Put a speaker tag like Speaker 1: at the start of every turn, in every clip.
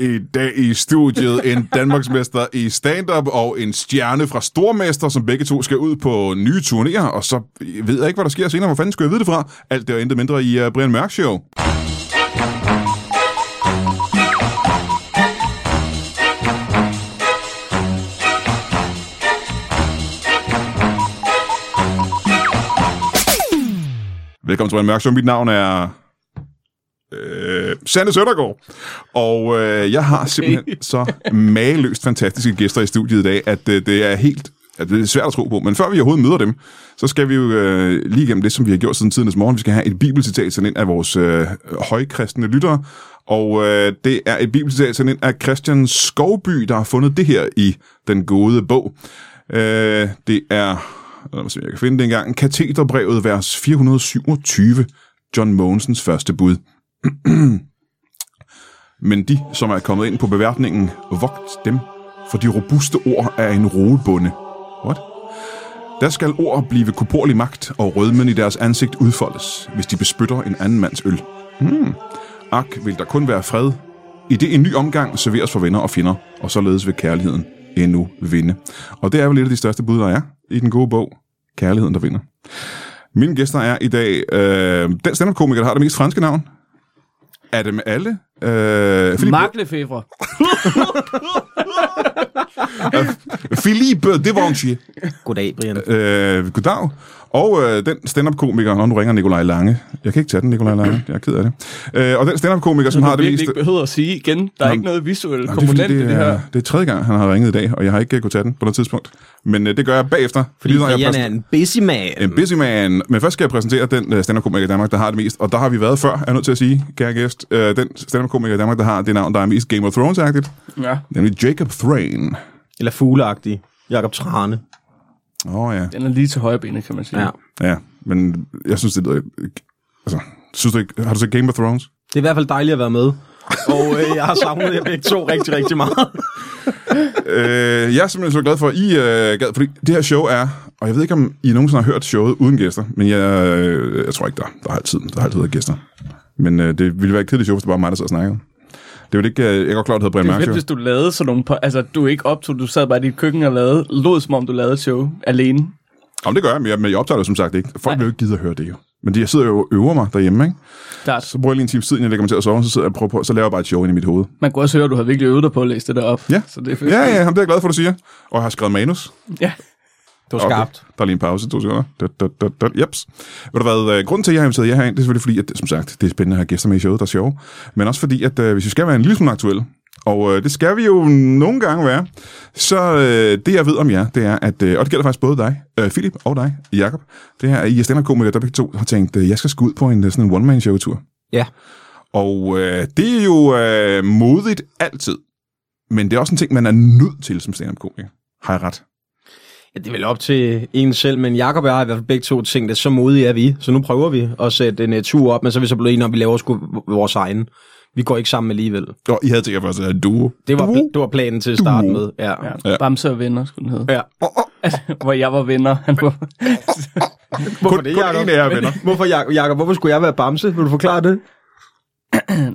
Speaker 1: I dag i studiet en Danmarksmester i stand-up og en stjerne fra Stormester, som begge to skal ud på nye turnéer, og så ved jeg ikke, hvad der sker senere. Hvor fanden skulle jeg vide det fra? Alt det og intet mindre i uh, Brian Mørk Show. Velkommen til Brian Mørk Show. Mit navn er... Øh, Sande Søndergaard. Og øh, jeg har simpelthen så mageløst fantastiske gæster i studiet i dag, at øh, det er helt at det er svært at tro på. Men før vi overhovedet møder dem, så skal vi jo øh, lige igennem det, som vi har gjort siden tidens morgen. Vi skal have et bibelcitat sendt ind af vores øh, højkristne lyttere. Og øh, det er et bibelcitat sendt ind af Christian Skovby, der har fundet det her i den gode bog. Øh, det er lad mig se, om jeg kan finde det engang, kateterbrevet, vers 427, John Mogensens første bud. Men de, som er kommet ind på beværtningen, vogt dem, for de robuste ord er en roebunde. What? Der skal ord blive kuporlig magt, og rødmen i deres ansigt udfoldes, hvis de bespytter en anden mands øl. Hmm. Ak, vil der kun være fred. I det en ny omgang serveres for venner og fjender, og således vil kærligheden endnu vinde. Og det er vel et af de største bud, der er i den gode bog, Kærligheden, der vinder. Mine gæster er i dag øh, den stand-up-komiker, der har det mest franske navn. Er det med alle? Øh, Philippe,
Speaker 2: Mark Lefebvre.
Speaker 1: Philippe de Vontier.
Speaker 3: Goddag, Brian.
Speaker 1: Øh, goddag. Og øh, den stand-up-komiker, Nå, nu ringer Nikolaj Lange. Jeg kan ikke tage den, Nikolaj Lange. Jeg er ked af det. Øh, og den stand-up-komiker, som
Speaker 4: Du
Speaker 1: har
Speaker 4: har
Speaker 1: det
Speaker 4: virkelig
Speaker 1: mest...
Speaker 4: ikke behøver at sige igen. Der er
Speaker 1: Nå,
Speaker 4: ikke noget visuelt
Speaker 1: Jamen,
Speaker 4: komponent i
Speaker 1: det,
Speaker 4: det,
Speaker 1: er,
Speaker 4: her.
Speaker 1: det er tredje gang, han har ringet i dag, og jeg har ikke øh, kunnet tage den på noget tidspunkt. Men øh, det gør jeg bagefter.
Speaker 3: Fordi
Speaker 1: når jeg
Speaker 3: Brian er en busy man.
Speaker 1: En busy man. Men først skal jeg præsentere den øh, stand-up-komiker i Danmark, der har det mest. Og der har vi været før, er jeg nødt til at sige, kære gæst. Øh, Den stand-up-komiker i Danmark, der har det navn, der er mest Game of Thrones-agtigt.
Speaker 4: Ja,
Speaker 1: Nemlig Jacob Thrain.
Speaker 3: Eller fugleagtig. Jakob Trane.
Speaker 1: Åh oh, ja.
Speaker 4: den er lige til højre benet, kan man sige.
Speaker 3: Ja.
Speaker 4: Ja.
Speaker 1: Ja, men jeg synes, det lyder... Altså, synes du ikke, har du set Game of Thrones?
Speaker 3: Det er i hvert fald dejligt at være med. Og øh, jeg har savnet jer begge to rigtig, rigtig meget.
Speaker 1: øh, jeg er simpelthen så glad for, at I øh, gad, fordi det her show er, og jeg ved ikke, om I nogensinde har hørt showet uden gæster, men jeg, øh, jeg tror ikke, der, der har altid, der har altid været gæster. Men øh, det ville være et kedeligt show, hvis det bare var mig, der sad og snakkede. Det var det ikke, øh, jeg er godt klar, at det hedder Brian
Speaker 4: Det er fedt,
Speaker 1: Mørk
Speaker 4: hvis
Speaker 1: Show.
Speaker 4: du lavede sådan nogle... po- Altså, du ikke optog, du sad bare i dit køkken og lavede, lod som om du lavede et show alene.
Speaker 1: Jamen, det gør jeg, men jeg, men jeg optager det som sagt ikke. Folk vil jo ikke gide at høre det jo. Men det, jeg sidder jo og øver mig derhjemme, ikke?
Speaker 4: Klart.
Speaker 1: Så bruger jeg lige en times tid, inden jeg lægger mig til at sove, så sidder jeg og prøver på, så laver jeg bare et show ind i mit hoved.
Speaker 4: Man kunne også høre, at du havde virkelig øvet dig på at læse det der op.
Speaker 1: Ja.
Speaker 4: Så det er fedt.
Speaker 1: Ja, ja, jamen, det er jeg glad for, du siger. Og jeg har skrevet manus.
Speaker 4: ja.
Speaker 3: Det var skarpt.
Speaker 1: Okay. Der er lige en pause, to sekunder. Da, da, da, da. Jeps. Ved du hvad, øh, grunden til, at jeg har inviteret jer herind, det er selvfølgelig fordi, at som sagt, det er spændende at have gæster med i showet, der er sjove. Men også fordi, at øh, hvis vi skal være en lille smule aktuelle, og øh, det skal vi jo nogle gange være, så øh, det jeg ved om jer, det er, at, øh, og det gælder faktisk både dig, øh, Philip, og dig, Jakob, det her er, at I er stand-up-komikere, der begge to har tænkt, øh, jeg skal sgu ud på en øh, sådan en one-man-show-tur.
Speaker 3: Ja.
Speaker 1: Og øh, det er jo øh, modigt altid, men det er også en ting, man er nødt til som stand-up-komiker. Har jeg ret?
Speaker 3: ja. det er vel op til en selv, men Jakob og jeg har i hvert fald begge to tænkt, at så modige er vi. Så nu prøver vi at sætte en uh, tur op, men så er vi så blevet enige om, at vi laver sgu v- vores egen. Vi går ikke sammen alligevel.
Speaker 1: Og I havde tænkt jer først, at du...
Speaker 3: Det var,
Speaker 1: du,
Speaker 3: pl- det var planen til at starte
Speaker 1: Du.
Speaker 3: med. Ja. ja.
Speaker 4: ja. Bamse og venner, skulle den hedde. Altså,
Speaker 3: ja.
Speaker 4: Hvor jeg var venner. Han var...
Speaker 3: Hvorfor
Speaker 1: kun en af jer er venner.
Speaker 3: Hvorfor, Jak- Jakob, hvorfor skulle jeg være bamse? Vil du forklare det?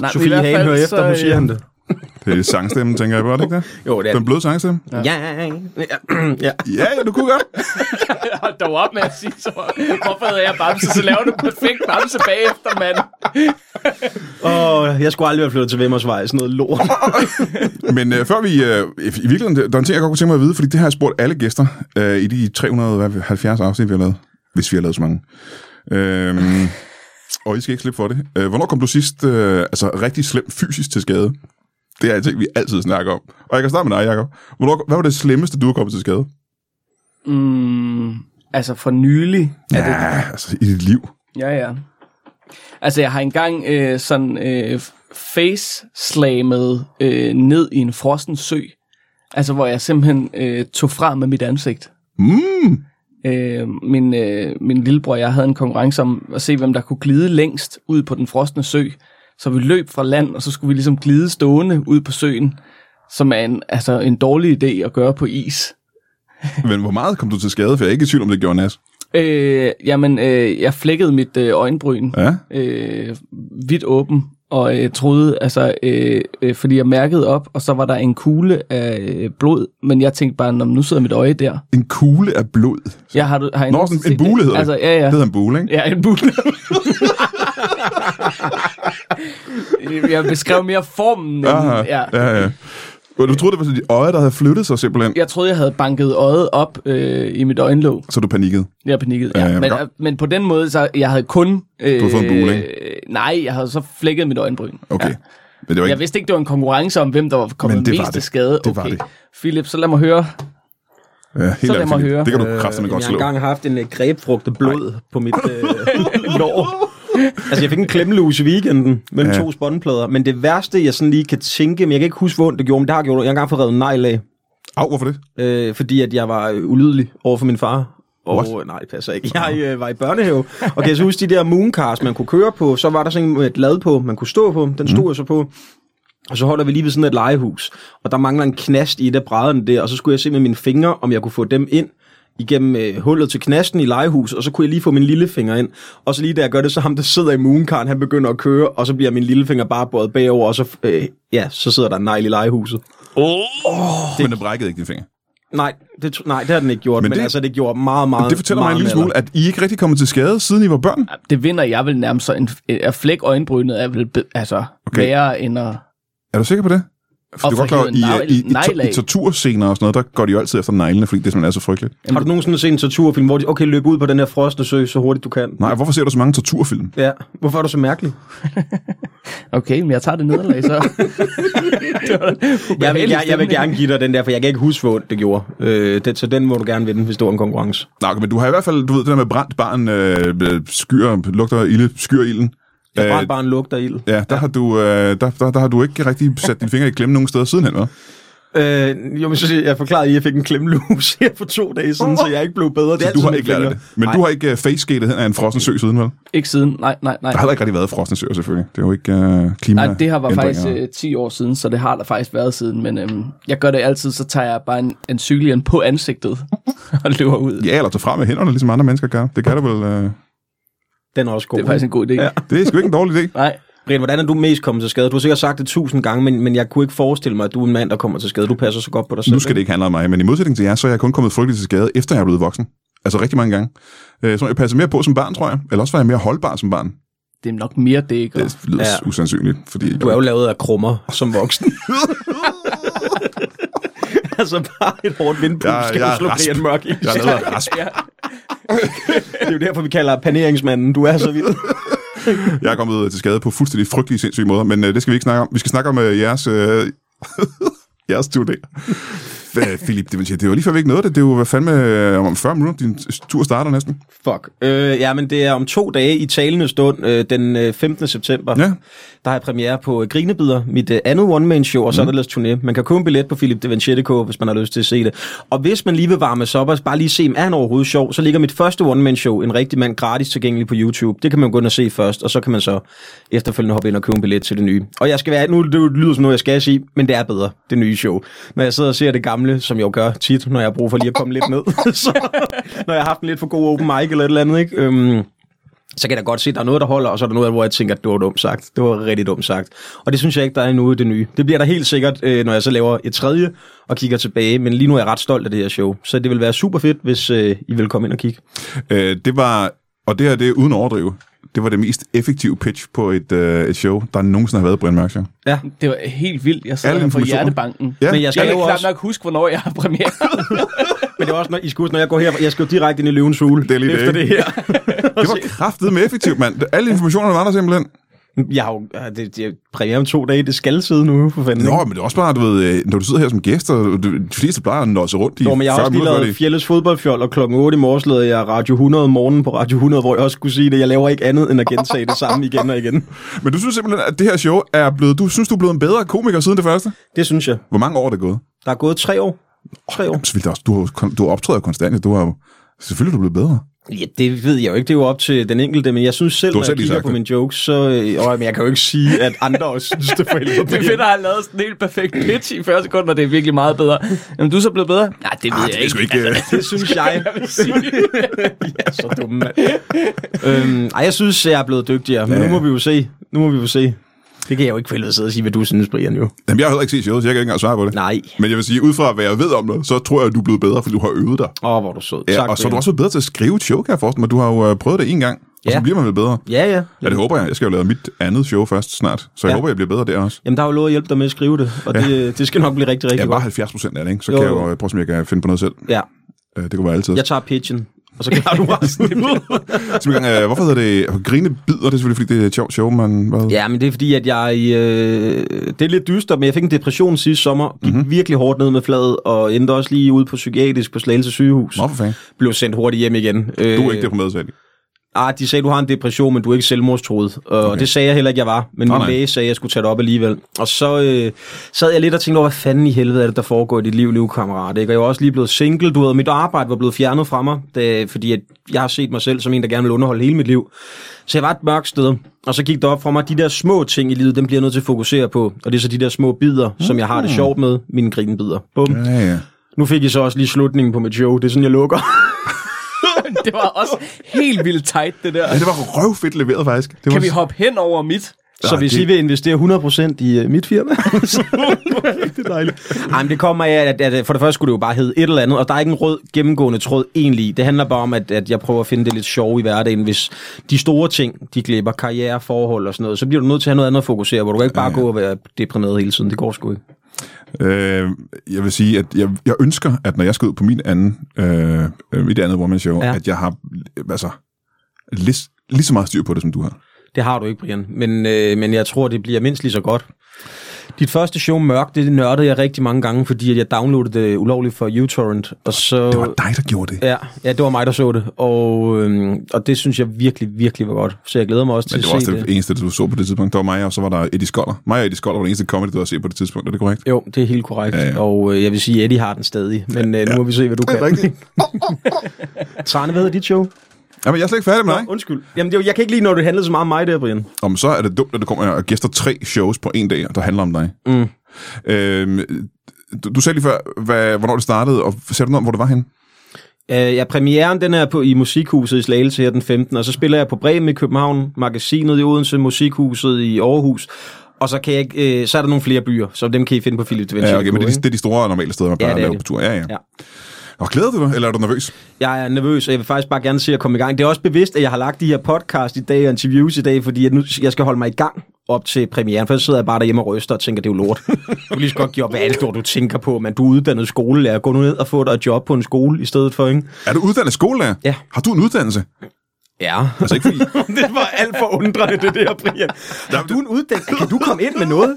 Speaker 4: Nej,
Speaker 3: Sofie Hagen hører efter, nu
Speaker 4: øh,
Speaker 3: siger han det.
Speaker 1: Det er sangstemmen, tænker jeg på, er det ikke det?
Speaker 3: Jo, det er
Speaker 1: Den bløde sangstemme?
Speaker 3: Ja. Ja. ja.
Speaker 1: Ja, ja, du kunne godt.
Speaker 4: Hold dog op med at sige så. Hvorfor hedder jeg Bamse? Så laver du perfekt Bamse bagefter, mand.
Speaker 3: Åh, jeg skulle aldrig være flyttet til Vemmersvej. Sådan noget lort.
Speaker 1: Men øh, før vi... Øh, I virkeligheden, der der er en ting, jeg godt kunne tænke mig at vide, fordi det har jeg spurgt alle gæster øh, i de 370 afsnit, vi har lavet. Hvis vi har lavet så mange. Øhm, og I skal ikke slippe for det. Øh, hvornår kom du sidst øh, altså, rigtig slemt fysisk til skade? Det er en ting, vi altid snakker om. Og jeg kan starte med dig, Jacob. Hvornår, hvad var det slemmeste, du har kommet til skade?
Speaker 4: Mm, altså for nylig.
Speaker 1: Ja, det... altså i dit liv.
Speaker 4: Ja, ja. Altså, jeg har engang øh, sådan øh, face-slammet øh, ned i en frossen sø. Altså, hvor jeg simpelthen øh, tog fra med mit ansigt.
Speaker 1: Mm.
Speaker 4: Øh, min, øh, min lillebror og jeg havde en konkurrence om at se, hvem der kunne glide længst ud på den frosne sø. Så vi løb fra land, og så skulle vi ligesom glide stående ud på søen, som er en, altså en dårlig idé at gøre på is.
Speaker 1: Men hvor meget kom du til skade? For jeg er ikke i tvivl om, det gjorde Nas.
Speaker 4: Øh, jamen, øh, jeg flækkede mit øh, øjenbryn
Speaker 1: Ja?
Speaker 4: øh, vidt åben, og øh, troede, altså, øh, øh, fordi jeg mærkede op, og så var der en kugle af øh, blod, men jeg tænkte bare, "Nå, men nu sidder mit øje der.
Speaker 1: En kugle af blod. Det
Speaker 4: Jeg har, du- har I
Speaker 1: Nå,
Speaker 4: nogensinde
Speaker 1: sådan en
Speaker 4: set det?
Speaker 1: bule hedder det.
Speaker 4: Altså, ja, ja.
Speaker 1: hedder en bule, ikke?
Speaker 4: Ja, en bule. jeg beskrev mere formen. End,
Speaker 1: Aha,
Speaker 4: ja.
Speaker 1: ja, ja. Og Du troede, det var sådan de øje, der havde flyttet sig simpelthen,
Speaker 4: Jeg troede, jeg havde banket øjet op øh, i mit øjenlåg.
Speaker 1: så du panikkede.
Speaker 4: Jeg panikkede.
Speaker 1: Ja,
Speaker 4: Ja,
Speaker 1: ja,
Speaker 4: men,
Speaker 1: men-
Speaker 4: men, men på den måde, så jeg havde kun... Øh,
Speaker 1: Du havde fået en bule,
Speaker 4: ikke? Nej, jeg havde så flækket mit øjenbryn.
Speaker 1: Okay.
Speaker 4: Ja.
Speaker 1: Ja. Men det var
Speaker 4: Jeg
Speaker 1: ikke...
Speaker 4: vidste ikke, det var en konkurrence om, hvem der var kommet
Speaker 1: Men det var
Speaker 4: mest til
Speaker 1: det.
Speaker 4: skade.
Speaker 1: Det var
Speaker 4: okay.
Speaker 1: det.
Speaker 4: Philip, så lad mig høre.
Speaker 1: Ja, helt
Speaker 4: lad
Speaker 1: ærligt,
Speaker 4: mig
Speaker 1: Philip,
Speaker 4: høre.
Speaker 1: Det kan du kraftigt godt
Speaker 3: jeg har
Speaker 1: slå.
Speaker 3: engang haft en øh, grebfrugt af blod Nej. på mit øh, lår. Altså, jeg fik en klemmelus i weekenden mellem
Speaker 1: Ja.
Speaker 3: ja. to spåndplader. Men det værste, jeg sådan lige kan tænke, men jeg kan ikke huske, hvor ondt det gjorde, men det har gjort, ondt. jeg har engang fået revet en negl af.
Speaker 1: Au, hvorfor det?
Speaker 3: øh, fordi at jeg var øh, ulydelig over for min far. Og
Speaker 1: What?
Speaker 3: What? nej, det passer ikke. Jeg øh, var i børnehave, og kan jeg så huske de der mooncars, man kunne køre på, så var der sådan et lad på, man kunne stå på, den stod jeg så på. Og så holder vi lige ved sådan et legehus, og der mangler en knast i et af brædderne der, og så skulle jeg se med mine fingre, om jeg kunne få dem ind igennem øh, hullet til knasten i legehuset, og så kunne jeg lige få min lillefinger ind. Og så lige da jeg gør det, så ham, der sidder i mooncaren, han begynder at køre, og så bliver min lillefinger bare båret bagover, og så, øh, ja, så sidder der en negl i legehuset.
Speaker 1: Men det brækkede ikke dine fingre.
Speaker 3: Nej, det, tr- nej, det har den ikke gjort,
Speaker 1: Men
Speaker 3: men, men
Speaker 1: det-
Speaker 3: det, altså det gjorde meget, meget
Speaker 1: Det fortæller mig
Speaker 3: meget
Speaker 1: en lille smule, at I ikke rigtig kommet til skade, siden I var børn.
Speaker 4: Det vinder jeg vel nærmest. Så en, at flække øjenbrynet er vel be, altså,
Speaker 1: Okay.
Speaker 4: okay. værre end at...
Speaker 1: Er du sikker på det? For
Speaker 4: Og
Speaker 1: du er godt klar, over,
Speaker 4: forhindre
Speaker 1: i, øh, i, i,
Speaker 4: negl-
Speaker 1: i, i
Speaker 4: neglag.
Speaker 1: torturscener og sådan noget, der går de jo altid efter neglene, fordi det simpelthen er så frygteligt.
Speaker 3: Har du nogensinde set en torturfilm, hvor de, okay, løb ud på den her frosne sø så hurtigt du kan?
Speaker 1: Nej, hvorfor ser du så mange torturfilm?
Speaker 3: Ja, hvorfor er du så mærkelig?
Speaker 4: Okay, men jeg tager det nederlag, så. Det var da
Speaker 3: Jeg vil,
Speaker 4: ubehagelig
Speaker 3: jeg, jeg vil
Speaker 4: stemning.
Speaker 3: gerne give dig den der, for jeg kan ikke huske, hvor ondt det gjorde. Øh, det, så den må du gerne vinde, hvis det var en konkurrence.
Speaker 1: Nej, okay, men du har i hvert fald, du ved, det der med brændt barn, øh, øh, skyer, lugter af ilde, skyer ilden.
Speaker 3: Jeg
Speaker 1: Øh,
Speaker 3: brændte bare en lugt af ild.
Speaker 1: Ja, der, Har du, øh, der, der, der, har du ikke rigtig sat dine fingre i klemme nogen steder sidenhen, hva'?
Speaker 3: Øh, jo, men så siger jeg jeg forklarede, at jeg fik en klemmelus her for to dage siden, så jeg ikke blev bedre. Det er
Speaker 1: Du har
Speaker 3: altid
Speaker 1: ikke lært af
Speaker 3: mine
Speaker 1: det.
Speaker 3: fingre.
Speaker 1: Men
Speaker 3: Nej.
Speaker 1: du har ikke uh, face-skatet hen af en frossen sø siden, vel?
Speaker 4: Ikke siden. Nej, nej, nej.
Speaker 1: Der har heller ikke rigtig været frossen søer, selvfølgelig. Det er jo ikke uh, klima.
Speaker 4: Nej, det her var faktisk øh, 10 år siden, så det har der faktisk været siden. Men øhm, jeg gør det altid, så tager jeg bare en, en cykelhjelm på ansigtet og løber ud.
Speaker 1: Ja, eller tage frem med hænderne, ligesom andre mennesker gør. Det kan du vel... Uh...
Speaker 3: Den er også god.
Speaker 4: Det er faktisk en god idé. Ja.
Speaker 3: Ja.
Speaker 1: Det er sgu ikke en dårlig idé.
Speaker 4: Nej,
Speaker 3: Brian, hvordan er du mest kommet til skade? Du har sikkert sagt det tusind gange, men, men jeg kunne ikke forestille mig, at du er en mand, der kommer til skade. Du passer så godt på dig selv.
Speaker 1: Nu skal det ikke handle om mig, men i modsætning til jer, så er jeg kun kommet frygteligt til skade, efter jeg er blevet voksen. Altså rigtig mange gange. Øh, Så jeg passede mere på som barn, tror jeg. Eller også var jeg mere holdbar som barn.
Speaker 4: det er nok mere det, ikke?
Speaker 1: Det lyder ja.
Speaker 3: Ja.
Speaker 1: usandsynligt, fordi...
Speaker 3: Du er jo lavet af krummer som voksen. altså bare et hårdt vindpust,
Speaker 1: Jeg-
Speaker 3: ja, skal
Speaker 1: jeg
Speaker 3: du
Speaker 1: er
Speaker 3: slå
Speaker 1: rasp.
Speaker 3: Brian Mørk i.
Speaker 1: Jeg er lavet af rasp.
Speaker 3: Det er jo derfor, vi kalder paneringsmanden. Du er så vild.
Speaker 1: Jeg er kommet øh, til skade på fuldstændig frygtelige, sindssyge måder, men øh, det skal vi ikke snakke om. Vi skal snakke om øh, jeres... Øh, jeres tur der. Hvad, Philip, det, vil sige, det var lige før vi ikke nåede det. Det er jo hvad fandme øh, om 40 minutter. Din tur starter næsten.
Speaker 3: Fuck. Øh, ja, men det er om to dage i talende stund, øh, den øh, 15. september.
Speaker 1: Ja.
Speaker 3: Der har jeg premiere på øh, Grinebider, mit øh, andet one-man-show, og så er der ellers turné. Man kan købe en billet på Philip Devanchetteco, hvis man har lyst til at se det. Og hvis man lige vil varme sig op og bare lige se, om er han overhovedet sjov, så ligger mit første one-man-show, En rigtig mand, gratis tilgængelig på YouTube. Det kan man gå ind og se først, og så kan man så efterfølgende hoppe ind og købe en billet til det nye. Og jeg skal være, nu det lyder som noget, jeg skal sige, men det er bedre, det nye show. Når jeg sidder og ser det gamle, som jeg jo gør tit, når jeg har brug for lige at komme lidt ned, så, når jeg har haft en lidt for god open mic eller et eller andet, ikke? Øhm, så kan jeg da godt se, at der er noget, der holder, og så er der noget, hvor jeg tænker, at det var dumt sagt. Det var rigtig dumt sagt. Og det synes jeg ikke, der er endnu i det nye. Det bliver der helt sikkert, øh, når jeg så laver et tredje og kigger tilbage. Men lige nu er jeg ret stolt af det her show. Så det vil være super fedt, hvis øh, I vil komme ind og kigge.
Speaker 1: Øh, det var... Og det her, det er uden at overdrive. Det var det mest effektive pitch på et, øh, et show, der nogensinde har været Brian Mørk Show.
Speaker 3: Ja.
Speaker 4: Det var helt vildt. Jeg sidder
Speaker 1: Alle
Speaker 4: her på
Speaker 1: informationer.
Speaker 4: hjertebanken.
Speaker 1: Ja.
Speaker 3: Men jeg
Speaker 4: Jeg
Speaker 3: skal
Speaker 4: kan
Speaker 3: jo
Speaker 4: knap
Speaker 3: også,
Speaker 4: nok huske, hvornår jeg har premiere.
Speaker 3: men det er også, når, I skal huske, når jeg går her, jeg skal jo direkte ind i løvens hule
Speaker 1: Det er lige det,
Speaker 3: efter
Speaker 1: ikke?
Speaker 3: det, her.
Speaker 1: Det var kraftet med effektivt, mand. Alle informationerne var der simpelthen.
Speaker 3: Jeg har jo, ah, det, det er premiere om to dage, det skal sidde nu, for fanden.
Speaker 1: Nå,
Speaker 3: ikke?
Speaker 1: men det er også bare, du ved, øh, når du sidder her som gæst, og du- de fleste plejer at nå sig rundt i
Speaker 3: Nå, men jeg har
Speaker 1: 40
Speaker 3: også lige
Speaker 1: minutter, gør de
Speaker 3: lavet
Speaker 1: ikke?
Speaker 3: Fjelles fodboldfjold, og klokken 8 i morges lavede jeg Radio 100 om morgenen på Radio 100, hvor jeg også kunne sige det. Jeg laver ikke andet end at gentage det samme igen og igen.
Speaker 1: Men du synes simpelthen, at det her show er blevet... Du synes, du er blevet en bedre komiker siden det første?
Speaker 3: Det synes jeg.
Speaker 1: Hvor mange år er det gået?
Speaker 3: Der er gået tre år. Tre år.
Speaker 1: Jamen, selvfølgelig også. Du har, jo kon- du har optræder jo konstant. ja. Du har jo, selvfølgelig er du blevet bedre.
Speaker 3: Ja, det ved jeg jo ikke. Det er jo op til den enkelte, men jeg synes selv,
Speaker 1: Du har
Speaker 3: når
Speaker 1: selv
Speaker 3: jeg
Speaker 1: lige
Speaker 3: kigger
Speaker 1: sagt
Speaker 3: på
Speaker 1: det.
Speaker 3: mine jokes, så... Øh, øh, men jeg kan jo ikke sige, at andre også synes, det er for helvede.
Speaker 4: Det er fedt at have lavet sådan en helt perfekt pitch i 40 sekunder. Det er virkelig meget bedre. Jamen, du er så blevet bedre? Nej, det ved
Speaker 1: Ah,
Speaker 4: Arh,
Speaker 1: det
Speaker 4: jeg
Speaker 1: er sgu
Speaker 4: ikke.
Speaker 1: ikke... øh,
Speaker 3: Det synes jeg.
Speaker 4: Jeg vil sige.
Speaker 3: Ja, så dumme, mand. øhm, ej, jeg synes, jeg er blevet dygtigere, men
Speaker 1: Ja.
Speaker 3: nu må vi jo se. Nu må vi jo se. Det kan jeg jo ikke for helvede sidde og sige, hvad du synes, Brian, jo.
Speaker 1: Jamen, jeg har heller ikke set showet, så jeg kan ikke engang svare på det.
Speaker 3: Nej.
Speaker 1: Men jeg vil sige, ud fra hvad jeg ved om det, så tror jeg, at du er blevet bedre, fordi du har øvet dig.
Speaker 3: Åh, oh, hvor er du sød.
Speaker 1: Ja, og så er du
Speaker 3: Brian.
Speaker 1: også blevet bedre til at skrive et show, kan jeg forestille mig. Du har jo øh, prøvet det en gang, og så
Speaker 3: Ja.
Speaker 1: bliver man vel bedre.
Speaker 3: Ja, ja.
Speaker 1: Ja, det håber jeg. Jeg skal jo lave mit andet show først snart, så jeg
Speaker 3: Ja.
Speaker 1: håber, jeg bliver bedre der også.
Speaker 3: Jamen, der er jo lovet at hjælpe dig med at skrive det, og det, det skal nok blive rigtig,
Speaker 1: Jeg
Speaker 3: rigtig
Speaker 1: er bare
Speaker 3: godt.
Speaker 1: 70 procent af det, ikke? så
Speaker 3: Jo,
Speaker 1: kan jeg
Speaker 3: jo.
Speaker 1: jo øh, prøve, om jeg kan finde på noget selv.
Speaker 3: Ja.
Speaker 1: Øh, Det kunne være altid.
Speaker 3: Jeg tager pitchen, og så klarer du resten.
Speaker 1: Simpelthen, øh, hvorfor hedder det grine bider? Det er selvfølgelig, fordi det er et sjovt show, men hvad?
Speaker 3: Ja, men det er fordi, at jeg... Øh, det er lidt dystert, men jeg fik en depression sidste sommer. Gik
Speaker 1: Mhm.
Speaker 3: mm-hmm. virkelig hårdt ned med fladet, og endte også lige ude på psykiatrisk på Slagelse sygehus.
Speaker 1: Nå, for fanden.
Speaker 3: Blev sendt hurtigt hjem igen. Øh,
Speaker 1: Du er ikke deprimeret selv.
Speaker 3: Ah, de sagde, du har en depression, men du er ikke selvmordstroet. Øh, Og
Speaker 1: Okay.
Speaker 3: okay. det sagde jeg heller ikke, jeg var. Men
Speaker 1: Nej,
Speaker 3: min
Speaker 1: nej.
Speaker 3: læge sagde, at jeg skulle tage det op alligevel. Og så øh, sad jeg lidt og tænkte over, hvad fanden i helvede er det, der foregår i dit liv, liv kammerat. Ikke? Og jeg var også lige blevet single. Du ved, mit arbejde var blevet fjernet fra mig, da, fordi at jeg har set mig selv som en, der gerne vil underholde hele mit liv. Så jeg var et mørkt sted. Og så gik det op for mig, at de der små ting i livet, dem bliver jeg nødt til at fokusere på. Og det er så de der små bidder, som jeg har det sjovt med. Mine grinbider. Bum.
Speaker 1: Mm. Ja, ja.
Speaker 3: Nu fik jeg så også lige slutningen på mit show. Det er sådan, jeg lukker.
Speaker 4: det var også helt vildt tight, det der.
Speaker 1: Ja, det var røvfedt leveret, faktisk. Det var
Speaker 4: Kan vi hoppe hen over mit?
Speaker 3: Så
Speaker 1: Ja,
Speaker 3: hvis
Speaker 1: det-
Speaker 3: det... I vil investere 100% i uh, mit firma, så det er dejligt. Ej, men det kommer af, at, at, at for det første skulle det jo bare hedde et eller andet, og der er ikke en rød gennemgående tråd egentlig. i. Det handler bare om, at, at jeg prøver at finde det lidt sjove i hverdagen. Hvis de store ting, de glipper, karriere, forhold og sådan noget, så bliver du nødt til at have noget andet at fokusere på. Du kan ikke bare gå og være deprimeret hele tiden. Det går sgu ikke.
Speaker 1: Øh, jeg vil sige, at jeg, jeg ønsker, at når jeg skal ud på min anden, øh, øh, mit andet woman show, ja.
Speaker 3: Ja.
Speaker 1: at jeg har øh, altså, lige, lige så meget styr på det, som du har.
Speaker 3: Det har du ikke, Brian. Men, øh, men jeg tror, det bliver mindst lige så godt. Dit første show, Mørk, det nørdede jeg rigtig mange gange, fordi at jeg downloadede det ulovligt for uTorrent. Og så...
Speaker 1: Det var dig, der gjorde det.
Speaker 3: Ja, ja, det var mig, der så det, og, øhm, og det synes jeg virkelig, virkelig var godt. Så jeg glæder mig også til
Speaker 1: Men
Speaker 3: at
Speaker 1: det var
Speaker 3: se
Speaker 1: også
Speaker 3: det.
Speaker 1: det, det eneste, du så på det tidspunkt. Det var mig, og så var der Eddie Skoller. Mig og Eddie Skoller var det eneste comedy, du har set på det tidspunkt. Er det korrekt?
Speaker 3: Jo, det er helt korrekt,
Speaker 1: Ja, ja.
Speaker 3: og øh, jeg vil sige, at Eddie har den stadig, men øh, nu må vi se, hvad du
Speaker 1: Det er
Speaker 3: kan.
Speaker 1: rigtigt.
Speaker 3: Trane, hvad hedder dit show?
Speaker 1: Jamen, jeg er slet ikke færdig med dig.
Speaker 3: undskyld. Jamen, det, var- jeg kan ikke lide, når det handlede så meget om mig der, Brian.
Speaker 1: Om så er det dumt, at du kommer og gæster tre shows på en dag, der handler om dig. Mm. Øhm, du, du sagde lige før, hvad, hvornår det startede, og sagde du noget om, hvor det var henne?
Speaker 3: Øh, ja, premieren den er på, i Musikhuset i Slagelse her den 15. Og så spiller jeg på Bremen i København, Magasinet i Odense, Musikhuset i Aarhus. Og så, kan jeg, ikke- øh, så er der nogle flere byer, så dem kan I finde på Philip de
Speaker 1: Ja,
Speaker 3: Venture.
Speaker 1: okay, men det, er de- det er de store normale steder, man plejer ja,
Speaker 3: det
Speaker 1: at
Speaker 3: er
Speaker 1: lave
Speaker 3: det.
Speaker 1: på tur. Ja, ja.
Speaker 3: Ja.
Speaker 1: Og glæder du dig, eller er du nervøs?
Speaker 3: Jeg er nervøs, og jeg vil faktisk bare gerne se at komme i gang. Det er også bevidst, at jeg har lagt de her podcast i dag og interviews i dag, fordi at nu, jeg skal holde mig i gang op til premieren, for så sidder jeg bare derhjemme og ryster og tænker, det er jo lort. Du kan lige så godt give op, hvad er det lort, du tænker på, men du er uddannet skolelærer. Gå nu ned og få dig et job på en skole i stedet for, ikke?
Speaker 1: Er du uddannet skolelærer?
Speaker 3: Ja.
Speaker 1: Har du en uddannelse?
Speaker 3: Ja.
Speaker 1: Altså ikke fordi...
Speaker 3: det var alt for undrende, det der, Brian. Har du en uddannelse? Kan du komme ind med noget?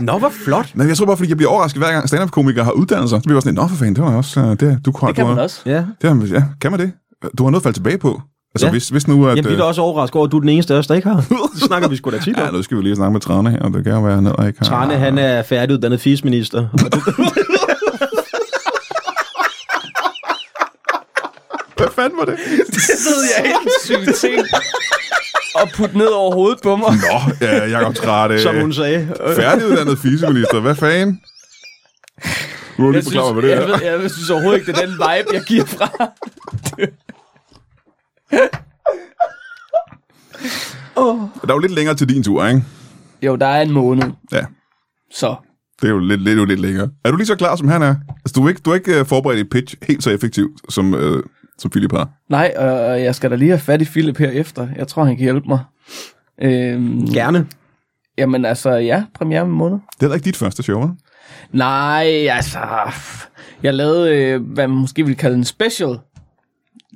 Speaker 3: Nå, hvor flot.
Speaker 1: Nej, jeg tror bare, fordi jeg bliver overrasket hver gang stand-up-komikere har uddannelser. Så bliver jeg også sådan, nå for fanden, det var også... øh, Det, du kunne,
Speaker 4: Det kan
Speaker 1: du,
Speaker 4: man
Speaker 1: har-
Speaker 4: også.
Speaker 3: Ja.
Speaker 1: Det, har- ja, kan man det? Du har noget at falde tilbage på. Altså
Speaker 3: Ja.
Speaker 1: hvis, hvis nu, at...
Speaker 3: Jamen, vi er da
Speaker 1: øh,
Speaker 3: også overrasket over, at du er den eneste af os, der ikke har. Det snakker vi sgu da tit om.
Speaker 1: Ja, nu skal vi lige snakke med Trane her, og det kan jo være, at han heller ikke har...
Speaker 3: Trane, han er færdiguddannet fisminister.
Speaker 1: Hvad fanden var det?
Speaker 4: Det ved jeg ikke. Syge ting. Og putte ned over hovedet på mig.
Speaker 1: Nå, ja, Jacob Trane.
Speaker 3: som hun sagde. Øh,
Speaker 1: Færdiguddannet fysiminister. Hvad fanden? Du må lige
Speaker 4: Jeg
Speaker 1: forklare
Speaker 4: synes,
Speaker 1: mig, hvad det
Speaker 4: jeg,
Speaker 1: er.
Speaker 4: ved, jeg synes overhovedet ikke, det er den vibe, jeg giver fra.
Speaker 1: Der er jo lidt længere til din tur, ikke?
Speaker 4: Jo, der er en måned,
Speaker 1: Ja.
Speaker 4: så
Speaker 1: Det er jo lidt, lidt, jo lidt længere. Er du lige så klar, som han er? Altså, du er ikke, du er ikke uh, forberedt et pitch helt så effektivt, som, uh, som Philip har.
Speaker 4: Nej, og øh, jeg skal da lige have fat i Philip herefter. Jeg tror, han kan hjælpe mig. Øhm, ja.
Speaker 3: Gerne.
Speaker 4: Jamen altså, ja, premiere om en måned.
Speaker 1: Det er heller ikke dit første show, hva'?
Speaker 4: Nej, altså... pff. Jeg lavede, øh, hvad man måske ville kalde en special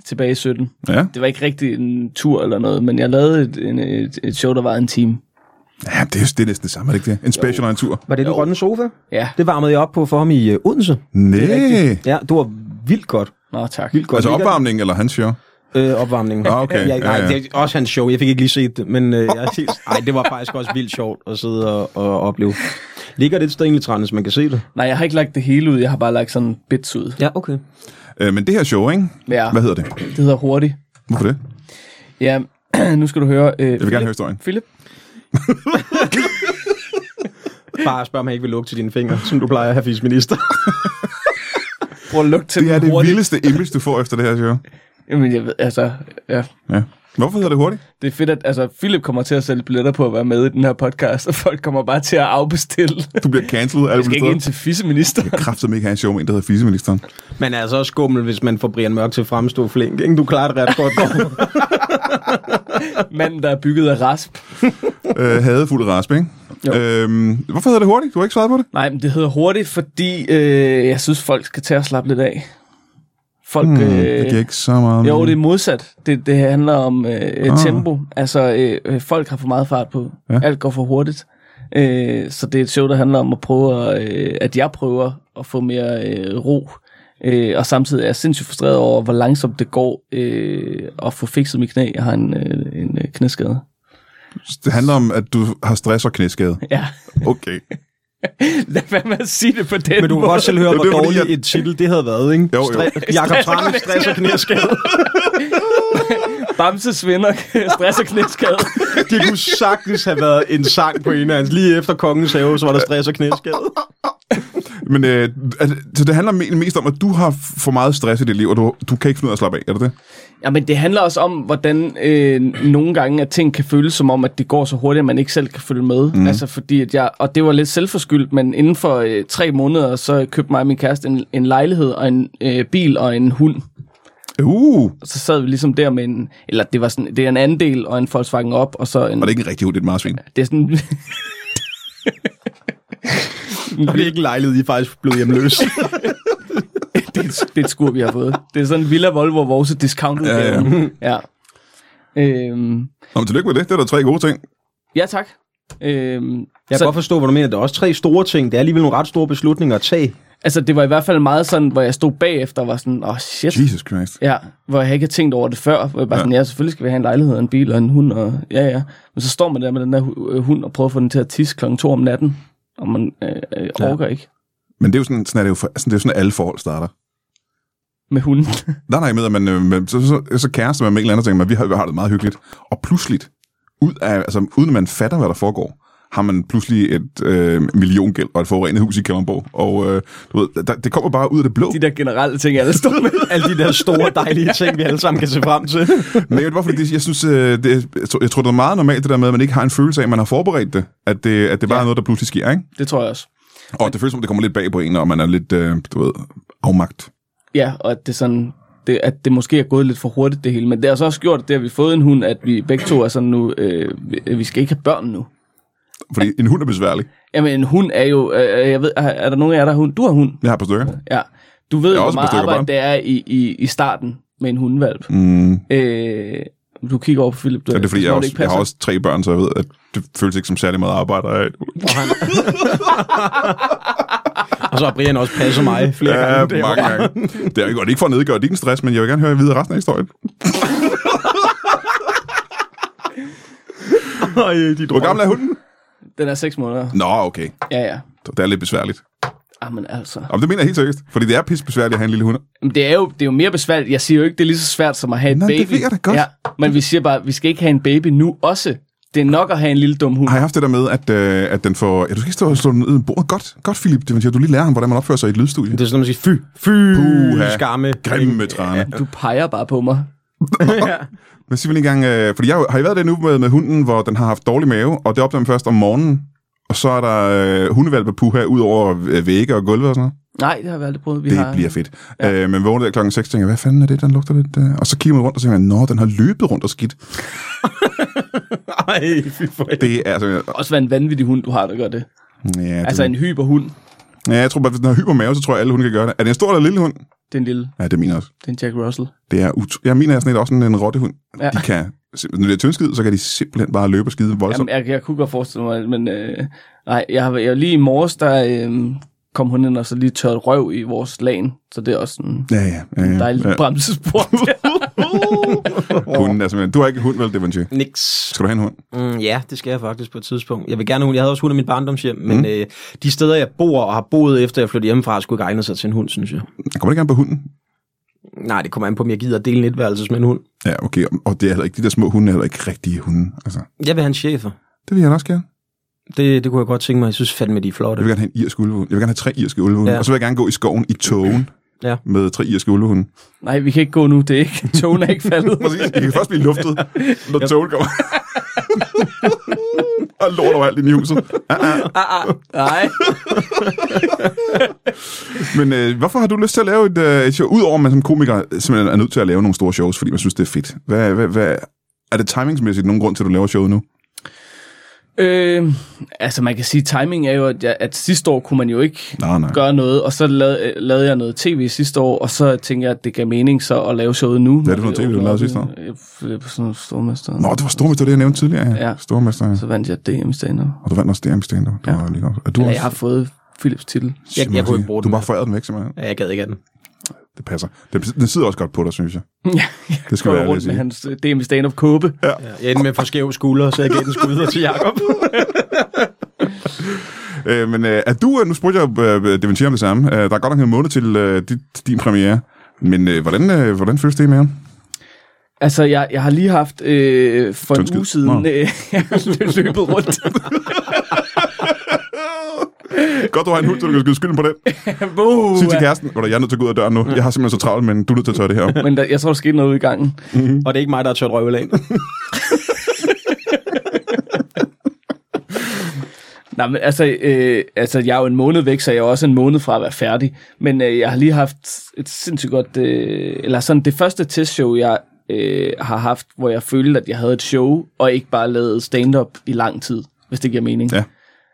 Speaker 4: tilbage i 17.
Speaker 1: Ja.
Speaker 4: Det var ikke rigtig en tur eller noget, men jeg lavede et, en, et, et show, der var en time.
Speaker 1: Ja, det er, jo- det er næsten det samme, er det ikke det? En special og en tur.
Speaker 3: Var det den grønne sofa?
Speaker 4: Ja,
Speaker 3: Det varmede jeg op på for ham i øh, Odense.
Speaker 1: Næh.
Speaker 3: Ja, det var vildt godt.
Speaker 4: nå tak.
Speaker 3: Vildt godt.
Speaker 1: Altså
Speaker 3: Mega-
Speaker 1: opvarmning eller hans show?
Speaker 3: Øh, opvarmningen.
Speaker 1: Ah, okay.
Speaker 3: Ja, nej,
Speaker 1: Ja, ja.
Speaker 3: det er også hans show. Jeg fik ikke lige set det, men øh, jeg er helt... Ej, det var faktisk også vildt sjovt at sidde og, og opleve. Ligger det et sted egentlig træne, så man kan se det?
Speaker 4: Nej, jeg har ikke lagt det hele ud. Jeg har bare lagt sådan bits ud.
Speaker 3: Ja, okay.
Speaker 1: Øh, men det her show, ikke?
Speaker 4: Ja,
Speaker 1: Hvad hedder det?
Speaker 4: det hedder hurtigt.
Speaker 1: Hvorfor det?
Speaker 4: Ja, nu skal du høre... Øh,
Speaker 1: Jeg vil gerne høre historien.
Speaker 4: Philip?
Speaker 3: Bare spørg, om han ikke vil lukke til dine fingre, som du plejer at have fisminister.
Speaker 4: Prøv at lukke til
Speaker 1: Det er
Speaker 4: den
Speaker 1: det
Speaker 4: hurtigt.
Speaker 1: vildeste image, du får efter det her show.
Speaker 4: Jamen, jeg ved, altså... Ja.
Speaker 1: Ja. Hvorfor hedder det hurtigt?
Speaker 4: Det er fedt, at altså, Philip kommer til at sælge billetter på at være med i den her podcast, og folk kommer bare til at afbestille.
Speaker 1: Du bliver cancelled alle
Speaker 4: Jeg skal ikke ind til fisseminister.
Speaker 1: Kræftet ikke have en show med en, der hedder Fiseministeren.
Speaker 3: Man er altså også skummel, hvis man får Brian Mørk til at fremstå flink. Ikke? Du klarer det ret godt.
Speaker 4: Manden, der er bygget af rasp.
Speaker 1: øh, hadefuld rasp, ikke?
Speaker 4: Jo.
Speaker 1: Øhm, hvorfor hedder det hurtigt? Du har ikke svaret på det?
Speaker 4: Nej, men det hedder hurtigt, fordi øh, jeg synes, folk skal tage og slappe lidt af. Folk,
Speaker 1: Hmm, det
Speaker 4: øh,
Speaker 1: giver ikke så meget.
Speaker 4: jo, det er modsat. Det, det handler om øh,
Speaker 1: Ah.
Speaker 4: ah. tempo. Altså, øh, øh, folk har for meget fart på.
Speaker 1: Ja.
Speaker 4: Ja. Alt går for hurtigt. Øh, så det er et show, der handler om at prøve, at, øh, at jeg prøver at få mere øh, ro. Øh, og samtidig er jeg sindssygt frustreret over, hvor langsomt det går øh, at få fikset mit knæ. Jeg har en, øh, en øh, knæskade.
Speaker 1: det handler om, at du har stress og knæskade.
Speaker 4: Ja,
Speaker 1: Okay.
Speaker 4: lad være med at sige det på den
Speaker 3: Men du kan
Speaker 4: måde.
Speaker 3: godt selv høre,
Speaker 1: Det var
Speaker 3: hvor
Speaker 1: fordi,
Speaker 3: dårlig
Speaker 1: jeg-
Speaker 3: et titel det havde været, ikke?
Speaker 1: Jo, jo.
Speaker 3: Stre- Jakob Trange, stress og knæskade.
Speaker 4: Bamse svinder, stress og knæskade.
Speaker 3: Det kunne sagtens have været en sang på en af hans. Lige efter Kongens Have, så var der stress og knæskade.
Speaker 1: Men øh, altså, så det handler me- mest om, at du har f- for meget stress i dit liv, og du, du kan ikke finde ud af at slappe af, er det det?
Speaker 4: Ja, men det handler også om, hvordan øh, nogle gange, at ting kan føles som om, at det går så hurtigt, at man ikke selv kan følge med. Mm. Altså fordi, at jeg, og det var lidt selvforskyldt, men inden for øh, tre måneder, så købte mig og min kæreste en, en lejlighed og en øh, bil og en hund.
Speaker 1: Uh,
Speaker 4: Og så sad vi ligesom der med en, eller det var sådan, det er en andel og en Volkswagen op, og så en,
Speaker 1: var det ikke en rigtig hund, det er et marsvin?
Speaker 4: det er sådan,
Speaker 3: Og det er ikke en lejlighed, I er faktisk blevet hjemløse.
Speaker 4: det, er et, det er et skur, vi har fået. Det er sådan en Villa Volvo Vorse discount
Speaker 1: Ja,
Speaker 4: ja. ja. Øhm,
Speaker 1: Nå, men tillykke med det. Det er da tre gode ting.
Speaker 4: ja, tak. Øhm,
Speaker 3: Jeg kan godt forstå, hvad du mener. Der er også tre store ting. Det er alligevel nogle ret store beslutninger at tage.
Speaker 4: Altså, det var i hvert fald meget sådan, hvor jeg stod bagefter og var sådan, åh oh, shit.
Speaker 1: Jesus Christ.
Speaker 4: Ja, hvor jeg ikke havde tænkt over det før. Hvor jeg bare
Speaker 1: Ja.
Speaker 4: ja. sådan, ja, selvfølgelig skal vi have en lejlighed og en bil og en hund. Og, ja, ja. Men så står man der med den der hu- øh, hund og prøver at få den til at tisse klokken to om natten. Og man øh, øh,
Speaker 3: Ja.
Speaker 4: orker ikke
Speaker 1: Men det er jo sådan, sådan er det jo, for, sådan, det er jo sådan, at alle forhold starter.
Speaker 4: med hunden.
Speaker 1: Nej, nej, med, at man, øh, man, så, så, så kærester man med en eller anden, og tænker man, vi har, vi har det meget hyggeligt. Og pludselig, ud af, altså, uden at man fatter, hvad der foregår, har man pludselig et øh, milliongæld og et forurenet hus i Kalundborg. Og øh, du ved, der, det kommer bare ud af det blå.
Speaker 4: De der generelle ting, alle står med.
Speaker 3: Alle de der store, dejlige ting, vi alle sammen kan se frem til.
Speaker 1: Men jeg ved hvorfor, det, jeg synes, øh, det, jeg tror- jeg tror, det er meget normalt det der med, at man ikke har en følelse af, at man har forberedt det. At det, at det bare ja. er noget, der pludselig sker, ikke?
Speaker 4: Det tror jeg også.
Speaker 1: Og det føles som, det kommer lidt bag på en, og man er lidt, øh, du ved, afmagt.
Speaker 4: Ja, og at det, sådan, det, at det måske er gået lidt for hurtigt det hele. Men det har så også gjort, det, at vi har fået en hund, at vi begge to er sådan nu, øh, vi- vi skal ikke have børn nu.
Speaker 1: Fordi en hund er besværlig.
Speaker 4: Jamen, en hund er jo, øh, jeg ved, er, er der nogen af jer, der har hund? Du har hund.
Speaker 1: Jeg har et par stykker.
Speaker 4: Ja. Du ved,
Speaker 1: Jeg er
Speaker 4: hvor
Speaker 1: også
Speaker 4: meget
Speaker 1: bestykker
Speaker 4: arbejde
Speaker 1: barn.
Speaker 4: det er i, i, i starten med en hundevalp.
Speaker 1: Mm. Øh,
Speaker 4: Øh, du kigger over på Philip. Du,
Speaker 1: det er fordi,
Speaker 4: du
Speaker 1: jeg,
Speaker 4: tror,
Speaker 1: også,
Speaker 4: ikke
Speaker 1: jeg har
Speaker 4: passer.
Speaker 1: også tre børn, så jeg ved, at det føles ikke som særlig meget arbejde. Og
Speaker 3: Og så har Brian også passet mig flere gange.
Speaker 1: Ja,
Speaker 3: Det er
Speaker 1: mange gange. Det er jo godt ikke for at nedgøre din stress, men jeg vil gerne høre videre resten af historien.
Speaker 3: jo- Øj, de
Speaker 1: Hvor gammel er hunden?
Speaker 4: Den er seks måneder.
Speaker 1: Nå, okay.
Speaker 4: Ja, ja.
Speaker 1: Det er lidt besværligt.
Speaker 4: Jamen altså.
Speaker 1: Jamen, det mener jeg helt seriøst. Fordi det er pissebesværligt at have en lille hund.
Speaker 4: Men det er, jo, det er jo mere besværligt. Jeg siger jo ikke, det er lige så svært som at have et
Speaker 1: Nå, det
Speaker 4: baby.
Speaker 1: ved jeg da godt.
Speaker 4: Ja, men vi siger bare, at vi skal ikke have en baby nu også. Det er nok at have en lille dum hund.
Speaker 1: Har jeg haft det der med, at, øh, at den får... Ja, du skal ikke stå og slå den ned i bordet. Godt, godt, Philip. Det betyder, at du lige lærer ham, hvordan man opfører sig i et lydstudie.
Speaker 3: Det er sådan, man siger, fy, fy,
Speaker 1: Puha.
Speaker 3: skamme.
Speaker 1: Grimme træne.
Speaker 4: Du peger bare på mig.
Speaker 1: Men sig vel en gang, øh, fordi jeg har I været der nu med, med hunden, hvor den har haft dårlig mave, og det opdager man først om morgenen, og så er der øh, hundevalpe puha ud over øh, vægge og gulve og sådan noget.
Speaker 4: Nej, det har vi aldrig prøvet. Vi
Speaker 1: Det
Speaker 4: har...
Speaker 1: bliver fedt. Ja. Øh, men vågner der klokken 6, tænker jeg, hvad fanden er det, den lugter lidt? øh?" Og så kigger man rundt og tænker, nå, den har løbet rundt og skidt.
Speaker 3: Ej, fy for helvede.
Speaker 1: Det er altså... øh,
Speaker 4: Også være en vanvittig hund, du har, der gør det.
Speaker 1: Ja, det,
Speaker 4: Altså en hyperhund.
Speaker 1: ja, jeg tror bare, hvis den har hypermave, så tror jeg, alle hunde kan gøre det. Er det en stor eller lille hund?
Speaker 4: Det er en lille.
Speaker 1: Ja, det er min også.
Speaker 4: Det er en Jack Russell.
Speaker 1: Det er ut- jeg mener, jeg er sådan lidt også sådan en rottehund. Ja.
Speaker 4: Ja.
Speaker 1: De kan, simpelthen- når det er tyndskid, så kan de simpelthen bare løbe og skide voldsomt.
Speaker 4: Jamen, jeg, jeg kunne godt forestille mig, men øh, nej, jeg har jeg, lige i morges, der øh, kom hun ind og så lige tørret røv i vores lagen, så det er også sådan
Speaker 1: Ja, ja, ja, ja.
Speaker 4: en dejlig
Speaker 1: ja.
Speaker 4: ja. bremsespor.
Speaker 1: Hunden er simpelthen. Du har ikke en hund, vel, Devonshire?
Speaker 3: Niks.
Speaker 1: Skal du have en hund?
Speaker 3: Mm, ja, det skal jeg faktisk på et tidspunkt. Jeg vil gerne have hund. Jeg havde også hund i mit barndomshjem, men øh, de steder, jeg bor og har boet efter, jeg flyttede hjemmefra, skulle ikke egne sig til en hund, synes jeg.
Speaker 1: Kommer det ikke an på hunden?
Speaker 3: Nej, det kommer an på, om jeg gider at dele netværelses med en hund.
Speaker 1: Ja, okay. Og det er heller ikke, de der små hunde er heller ikke rigtige hunde. Altså,
Speaker 3: Jeg vil have en chefer.
Speaker 1: det vil jeg da også gerne.
Speaker 3: Det, det kunne jeg godt tænke mig. Jeg synes fandme, de er flotte.
Speaker 1: Jeg vil gerne have en irsk ulvehund. Jeg vil gerne have tre irske ulvehunde. Ja.
Speaker 3: Ja.
Speaker 1: Og så vil jeg gerne gå i skoven i togen.
Speaker 3: Ja.
Speaker 1: med tre irske ulvehunde.
Speaker 4: Nej, vi kan ikke gå nu, det er ikke, togen er ikke faldet.
Speaker 1: Præcis, I kan først blive luftet, når toget kommer. og lort overalt inde i huset.
Speaker 4: ah, ah, nej,
Speaker 1: Men øh, hvorfor har du lyst til at lave et, øh, et show? Udover at man som komiker simpelthen er nødt til at lave nogle store shows, fordi man synes, det er fedt. Hvad, hvad, hvad, er det timingsmæssigt nogen grund til, at du laver showet nu?
Speaker 4: øh, altså man kan sige, timing er jo, at, jeg, at sidste år kunne man jo ikke
Speaker 1: Nej, nej.
Speaker 4: gøre noget, og så lavede, lavede jeg noget tv sidste år, og så tænkte jeg, at det gav mening så at lave showet nu.
Speaker 1: Hvad er det for noget tv, du lavede sidste år?
Speaker 4: Øh, Det var sådan noget stormester.
Speaker 1: Nå, det var stormester, det jeg nævnte tidligere. Ja.
Speaker 4: Ja.
Speaker 1: Stormester, ja.
Speaker 4: Så vandt jeg DM stand
Speaker 1: Og du vandt også DM stand up. Ja.
Speaker 4: Ja.
Speaker 1: Lige godt. Er du
Speaker 4: Eller
Speaker 1: også?
Speaker 4: jeg har fået Philips titel.
Speaker 3: Jeg- jeg kunne ikke bruge
Speaker 1: Du
Speaker 3: den.
Speaker 1: bare forærede den væk, simpelthen.
Speaker 3: Ja, jeg gad ikke af den.
Speaker 1: Det passer. Den, den sidder også godt på dig, synes jeg.
Speaker 4: Ja,
Speaker 1: Det skal
Speaker 4: går
Speaker 1: være
Speaker 4: rundt
Speaker 1: ærligt
Speaker 4: med
Speaker 1: at
Speaker 4: hans øh, DM stand-up kåbe. Ja.
Speaker 3: Ja, jeg endte med for skæve skuldre, så jeg gav den sgu videre til Jacob.
Speaker 1: sige. Øh, men øh, er du, øh, nu spurgte jeg øh, Devin Thier om det samme. Øh, der er godt nok en måned til øh, dit, din premiere. Men øh, hvordan, øh, hvordan føles det i maven?
Speaker 4: Altså, jeg, jeg har lige haft øh, for en
Speaker 1: Tyndskid.
Speaker 4: uge
Speaker 1: Nå.
Speaker 4: siden øh, løbet rundt.
Speaker 1: Godt, du har en hund, så du kan skyde skylden på den.
Speaker 4: Wow.
Speaker 1: Sig til kæresten, hvor jeg er nødt til at gå ud af døren nu. Jeg har simpelthen så travlt, men du er nødt til at tørre det her om.
Speaker 4: Men der, jeg tror, der skete noget ude i gangen.
Speaker 3: Og det er ikke mig, der har tørt røvel af.
Speaker 4: Nej, men altså, øh, altså, jeg er jo en måned væk, så jeg er også en måned fra at være færdig. Men øh, jeg har lige haft et sindssygt godt... Øh, eller sådan, det første testshow, jeg øh, har haft, hvor jeg følte, at jeg havde et show, og ikke bare lavet stand-up i lang tid, hvis det giver mening.
Speaker 1: Ja.